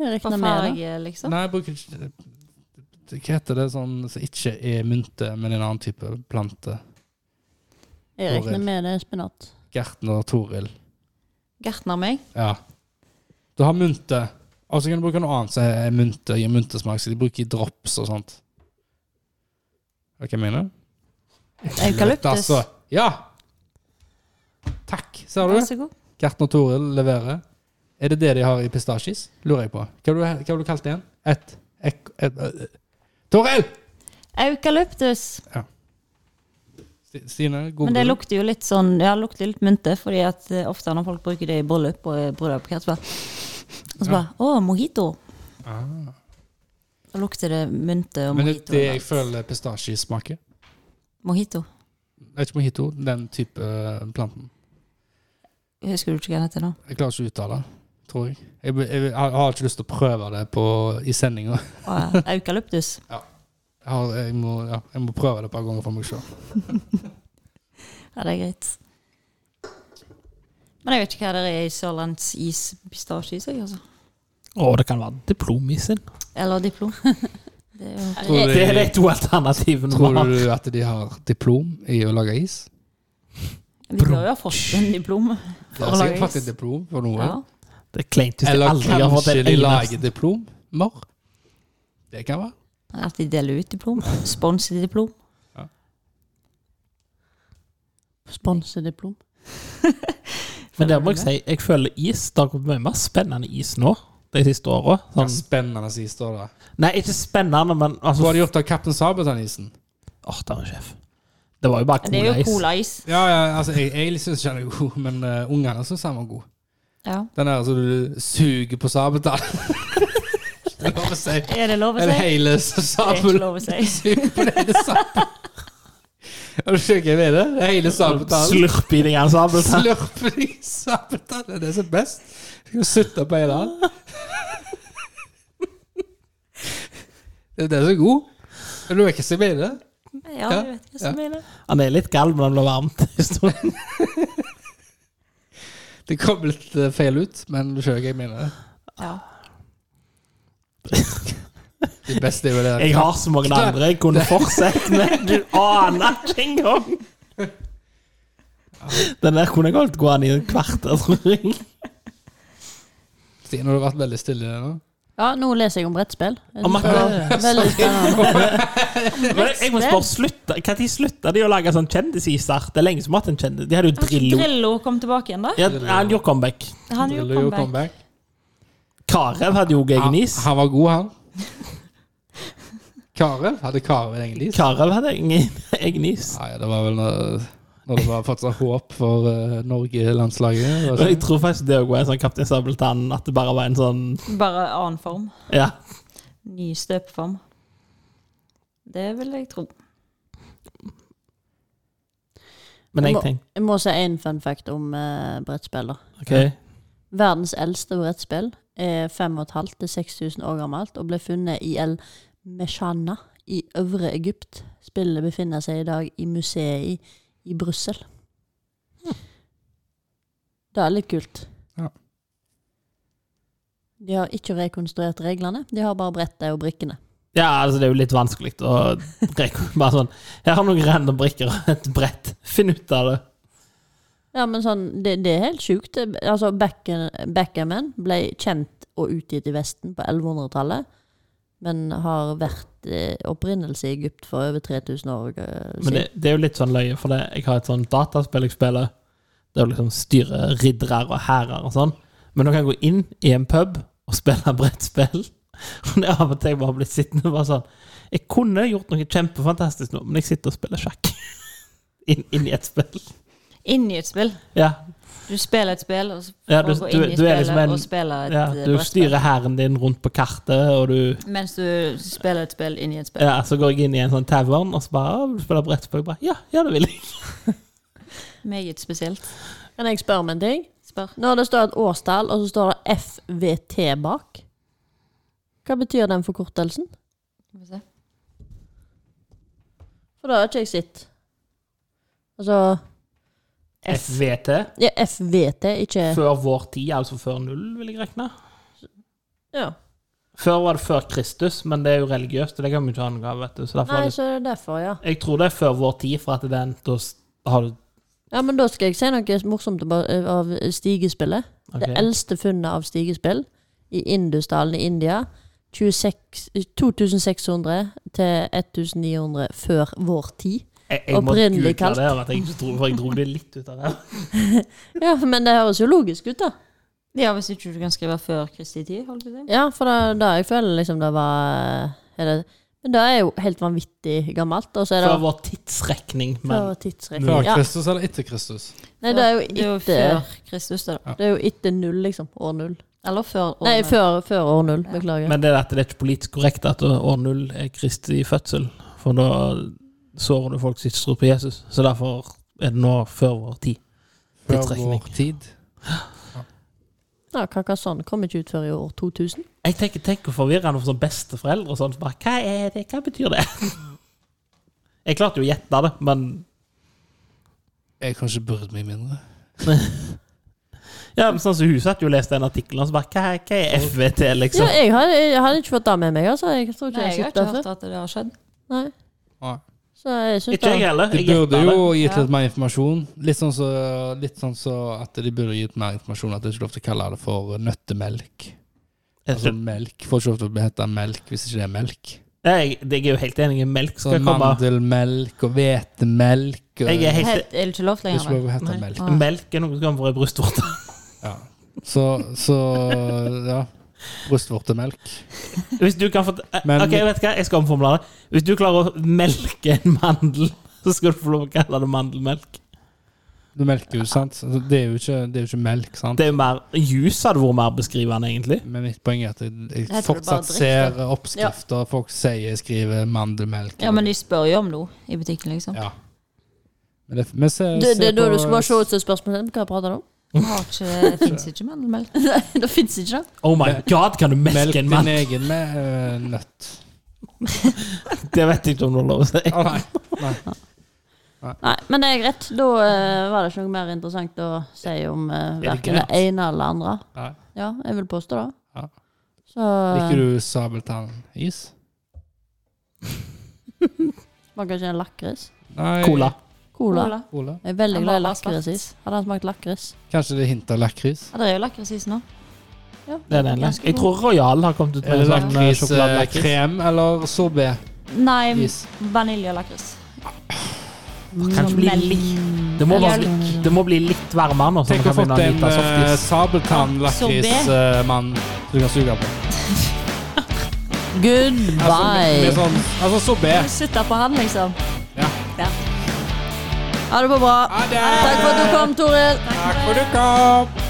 S1: Jeg
S4: For
S1: regner med det.
S4: farge, liksom?
S3: Nei, jeg bruker ikke Hva heter det sånn som ikke er mynte, men en annen type plante?
S1: Jeg regner med det er spinat.
S3: Gertner og Toril.
S4: Gartner meg.
S3: Ja. Du har mynte, og så kan du bruke noe annet som er mynte, gir myntesmak, så de bruker i drops og sånt. Vet du hva jeg mener? Lett,
S4: Eukalyptus.
S3: altså. Ja! Takk, ser
S4: Vær
S3: du.
S4: så god.
S3: Gertner og Toril leverer. Er det det de har i pistasjis? Lurer jeg på. Hva har du, hva har du kalt det igjen? Et, ek, et, øh, Toril!
S4: Eukalyptus.
S3: Sti- Stine, god
S4: Men det lukter jo litt sånn Ja, lukter litt mynte, fordi at eh, ofte når folk bruker det i bryllup og eh, bryllup, så bare Og så bare Å, mojito. Da lukter det mynte og
S3: Ah. Men det,
S4: mojito.
S3: det jeg
S4: overalt.
S3: føler pistasje smaker
S4: Mojito.
S3: Det er ikke mojito, den type eh, planten.
S4: Husker du ikke hva den heter nå?
S3: Jeg klarer ikke å uttale det, tror jeg. Jeg, be- jeg har- har ikke lyst til å prøve det på, i sendinga.
S4: Å, ja. Eukalyptus.
S3: [LAUGHS] Jeg, har- jeg, må- ja, jeg må prøve det et par ganger for meg sjøl.
S4: Ja, det er greit. Men jeg vet ikke hva det er i sørlandsis-pistasjeis, jeg, altså.
S2: Å, det kan være diplomis sin.
S4: Eller Diplo. [LAUGHS] Det er jo
S3: Tror,
S2: Det er de
S3: du-
S2: to alternativene vi
S3: tror
S2: har.
S3: du at de har diplom i å lage is?
S4: Vi bør jo ha fått en diplom.
S3: De har sikkert fått et diplom for noe.
S4: Ja.
S2: Det er kleint hvis de
S3: Eller
S2: aldri har fått
S3: kanskje
S2: en
S3: de
S2: eneste.
S3: lager diplomer? Det kan være.
S4: At de deler ut diplom. Sponset diplom.
S1: Sponsediplom.
S2: Men det må jeg si, jeg føler is Det har gått mye mer spennende is nå de siste åra.
S3: Ja,
S2: Sånn.
S3: spennende is, står det.
S2: Nei, ikke spennende, men
S3: Hva
S2: altså
S3: har de gjort av Kaptein Sabeltann-isen?
S2: Åh, der er sjef. Det var jo bare
S4: Det er jo
S2: cola-is.
S4: colais.
S3: Ja, ja, altså, jeg, jeg syns ikke den er god, men eh, ungene syns den var god.
S4: Ja.
S3: Den der som du suger på sabeltann. [LAUGHS] Det er lov å si.
S4: Er det lov å
S3: En
S4: si?
S3: hel
S4: Det er ikke
S3: sabel
S4: lov å si.
S3: suger på den hele sabelen. [LAUGHS] Er du sikker jeg mener det? Det er hele sabeltannen.
S2: Slurp i altså. deg en sabel.
S3: Slurper i sabeltannen. Det er det som er best. Du skal sutte på hele den. [LAUGHS] Det er det som er god. Men du vet ikke hva jeg mener det?
S4: [LAUGHS] Ja, jeg vet ikke hva som er det.
S2: Han er litt gal, men han blir [LAUGHS] varmt i stunden.
S3: Det kom litt eh, feil ut, men du skjønner hva jeg mener det.
S4: Ja.
S3: Det beste er jo det.
S2: Jeg har så mange andre jeg kunne fortsette med. Du aner ikke engang! Den der kunne jeg holdt gående i et kvarter, tror jeg.
S3: Stine, du har vært veldig stille nå.
S1: Ja, nå leser jeg om brettspill. Jeg
S2: Om
S1: synes det var Veldig
S3: [LAUGHS]
S1: spennende.
S2: Men jeg må spørre, slutta, Når slutta de å lage sånn kjendisiser? Det er lenge som har hatt en kjendis. De hadde jo Drillo.
S4: Drillo kom tilbake igjen, da.
S2: Ja, han gjorde comeback.
S4: Han
S3: Drillo
S4: gjorde
S3: gjorde
S4: comeback.
S2: Karev hadde jo egen is.
S3: Han, han var god, han. Karev? Hadde Karev en egen is?
S2: Karev hadde egen, egen is.
S3: Nei, det var vel når, når det var fortsatt håp for eh, Norge-landslaget.
S2: Og jeg
S3: var det ikke?
S2: tror faktisk det òg var en sånn Kaptein Sabeltann. At det bare var en sånn
S4: Bare annen form.
S2: Ja.
S4: Ny støpeform. Det vil jeg tro.
S2: Men
S1: Jeg
S2: jeg
S1: må-
S2: tenker
S1: Jeg må si en fun fact om eh, brettspill. da.
S2: OK.
S1: Verdens eldste brettspill er 5500-6000 år gammelt og ble funnet i El Meshana i Øvre Egypt. Spillet befinner seg i dag i museet i, i Brussel. Det er litt kult.
S3: Ja.
S1: De har ikke rekonstruert reglene, de har bare brettet og brikkene.
S2: Ja, altså det er jo litt vanskelig å reko- [LAUGHS] Bare sånn Her har noen random brikker og et brett. Finn ut av det.
S1: Ja, men sånn, det, det er helt sjukt. Det- Altså, Backen- Backgammon ble kjent og utgitt i Vesten på 1100-tallet, men har vært eh, opprinnelse i Egypt for over 3000 år eh, siden.
S2: Men det, det er jo litt sånn løye, for det, jeg har et sånn dataspill jeg spiller. Det er jo liksom styre riddere og hærer og sånn. Men nå kan jeg gå inn i en pub og spille [LAUGHS] brettspill. Og det er av og til jeg bare blitt sittende og bare sånn Jeg kunne gjort noe kjempefantastisk nå, men jeg sitter og spiller sjakk. [LAUGHS] Inn, inn i et spill.
S4: Inn i et spill.
S2: Ja,
S4: Du spiller et spill, og så
S2: Ja,
S4: får
S2: du-
S4: gå
S2: du-
S4: inn i
S2: du er
S4: spillet
S2: liksom en-
S4: og spille et
S2: ja
S4: eh,
S2: du
S4: brettspill.
S2: styrer hæren din rundt på kartet, og du
S4: Mens du spiller et spill inn i et spill.
S2: Ja, så går jeg inn i en sånn tavern, og så bare «Å, vil du spiller brettspill. Jeg Bare, ja, ja, det vil jeg.
S4: Meget spesielt.
S1: Kan jeg spørre om en ting?
S4: Spør.
S1: Når det står et årstall, og så står det FVT bak, hva betyr den forkortelsen?
S4: Skal vi se.
S1: For da har ikke jeg sett. Altså
S2: FVT.
S1: ja, FVT, ikke
S2: Før vår tid, altså før null, vil jeg regne.
S1: Ja.
S2: Før var det før Kristus, men det er jo religiøst, og det kan vi ikke angi. vet du. Så derfor
S1: Nei,
S2: er det,
S1: så er det derfor, ja.
S2: jeg tror det er før vår tid, for at den, da s- har du
S1: Ja, men Da skal jeg si noe morsomt om- av stigespillet.
S2: ok.
S1: Det eldste funnet av stigespill i Indusdalen i India. 26, 2600 til 1900 før vår
S2: [LAUGHS]
S1: tid.
S2: Jeg, jeg må
S1: opprinnelig
S2: google
S1: kalt.
S2: det, at jeg, ikke dro, for jeg dro det litt ut av det.
S1: [LAUGHS] Ja, Men det høres jo logisk ut, da.
S4: Ja, hvis ikke du kan skrive før Kristi tid, holdt jeg på å si.
S1: Ja, for det, det jeg føler liksom det var er det, Men det er jo helt vanvittig gammelt. Og så er
S2: Før
S1: det
S2: vår tidsrekning, men
S1: før tidsrekning.
S3: sånn. Før
S1: Ja.
S3: Kristus eller etter Kristus?
S1: Nei, det er jo
S4: Det er jo
S1: etter
S4: før Kristus, det da.
S1: det er jo etter null, liksom. År null.
S4: Eller før
S1: Nei,
S4: årene.
S1: før, før år null. Beklager.
S2: Men det er at det er ikke politisk korrekt at år null er Kristi fødsel, for da sårer du folk som ikke tror på Jesus. Så derfor er det nå før vår tid.
S3: Før
S2: Tidsrekning.
S3: vår tid?
S1: Ja, Kakasson kom ikke ut før i år 2000.
S2: Jeg tenker, tenk hvor forvirrende for sånn besteforeldre og sånn. Bare, hva er det? Hva betyr det? [LAUGHS] Jeg klarte jo å gjette det, men
S3: Jeg kanskje burde meg mindre.
S2: ja, men sånn som hun satt jo og leste en artikkel, og så bare hva, hva er FVT,
S1: Ja,
S2: liksom?
S1: jeg hadde, jeg hadde ikke fått det med meg, altså. Jeg tror ikke
S4: Nei,
S1: jeg har sett
S4: jeg har
S1: det
S4: ikke
S1: før.
S4: hørt at det har skjedd.
S1: Nei.
S3: Nei.
S1: Så jeg synes
S2: Ikke jeg
S1: det.
S2: heller.
S3: De
S2: Jeg
S3: burde
S2: gjetter det.
S3: jo gitt
S4: Ja.
S3: litt mer informasjon. Litt sånn så, litt sånn så at de burde gitt mer informasjon. At det ikke er lov til å kalle det for nøttemelk.
S2: Jeg
S3: Altså
S2: tror-
S3: melk. Får ikke lov til å hete melk hvis ikke det er melk.
S2: Jeg, jeg er jo helt enig. Melk skal
S3: Sånn
S2: komme.
S3: mandelmelk og hvetemelk. og-
S2: Jeg er
S4: Det
S2: helt
S4: er det ikke lov
S3: Det er ikke
S4: lenger.
S3: lov å hete
S2: Nei.
S3: melk.
S4: Ah.
S2: Melk er noe som kommer fra ei brystvorte. [LAUGHS]
S3: Ja. Så, så ja. Brystvortemelk.
S2: Hvis du kan få
S3: Men-
S2: Ok, vet du hva? Jeg skal omformulere det. Hvis du klarer å melke en mandel, [LAUGHS] så skal du få lov å kalle det mandelmelk.
S3: Du melker jo, sant? Altså, Det er jo ikke, det er jo ikke melk, sant?
S2: Det er jo mer Juice hadde vært mer beskrivende, egentlig.
S3: Men mitt poeng er at jeg,
S4: tror det
S3: jeg
S4: er
S3: fortsatt
S4: bare
S3: ser
S4: drikker.
S3: oppskrifter folk sier skriver mandelmelk.
S4: Ja, men de spør jo om noe i butikken, liksom.
S3: Ja. Men det, men se,
S1: Det, det
S3: se
S1: er da
S3: på-
S1: du skal bare se ut som spørsmålet hva jeg prater om.
S4: Har ikke, det finnes ikke mandelmelk.
S1: [LAUGHS] det fins ikke.
S2: Oh my god, kan du
S3: Melk
S2: melke en
S3: din
S2: mandel?
S3: egen med eh, nøtt.
S2: Det vet jeg ikke om du har lov å si.
S3: Å nei.
S1: Nei, men det er greit. Da eh, var det ikke noe mer interessant å si om uh,
S3: det
S1: verken det
S3: greit?
S1: ene eller det andre.
S3: nei.
S1: Ja, jeg vil påstå det.
S3: Ja.
S1: Så
S3: Liker du sabeltann-is?
S1: smaker ikke en lakris.
S3: Nei.
S2: Cola.
S1: Cola.
S4: Cola.
S3: Cola.
S1: Jeg er veldig
S4: Den
S1: glad i
S4: var svart.
S1: lakrisis. Hadde han smakt lakris?
S3: Kanskje det hinter lakris?
S4: Ja, det er jo lakrisisen nå.
S1: Ja.
S2: Det er det ene. Jeg tror Royal har kommet ut
S3: Er
S2: med
S3: det
S2: en sånn eh, sjokoladelakris.
S3: lakriskrem eller sorbé-is?
S4: Nei, vanilje og lakris.
S2: Kanskje bli litt det må, bare, det må bli litt varmere nå. så vi
S3: Tenk å
S2: kan
S3: ha fått
S2: begynne å
S3: en
S2: nyte
S3: uh,
S2: softis.
S3: sabeltann-lakris, eh, mann du kan suge på. Altså, med, med
S1: Goodbye.
S3: sånn, altså sorbé.
S4: Sitte på han, liksom.
S3: Ja.
S4: Ja.
S1: Ha det på bra.
S3: Ha det!
S1: Takk for at du kom, Toril.
S3: Takk for at du kom!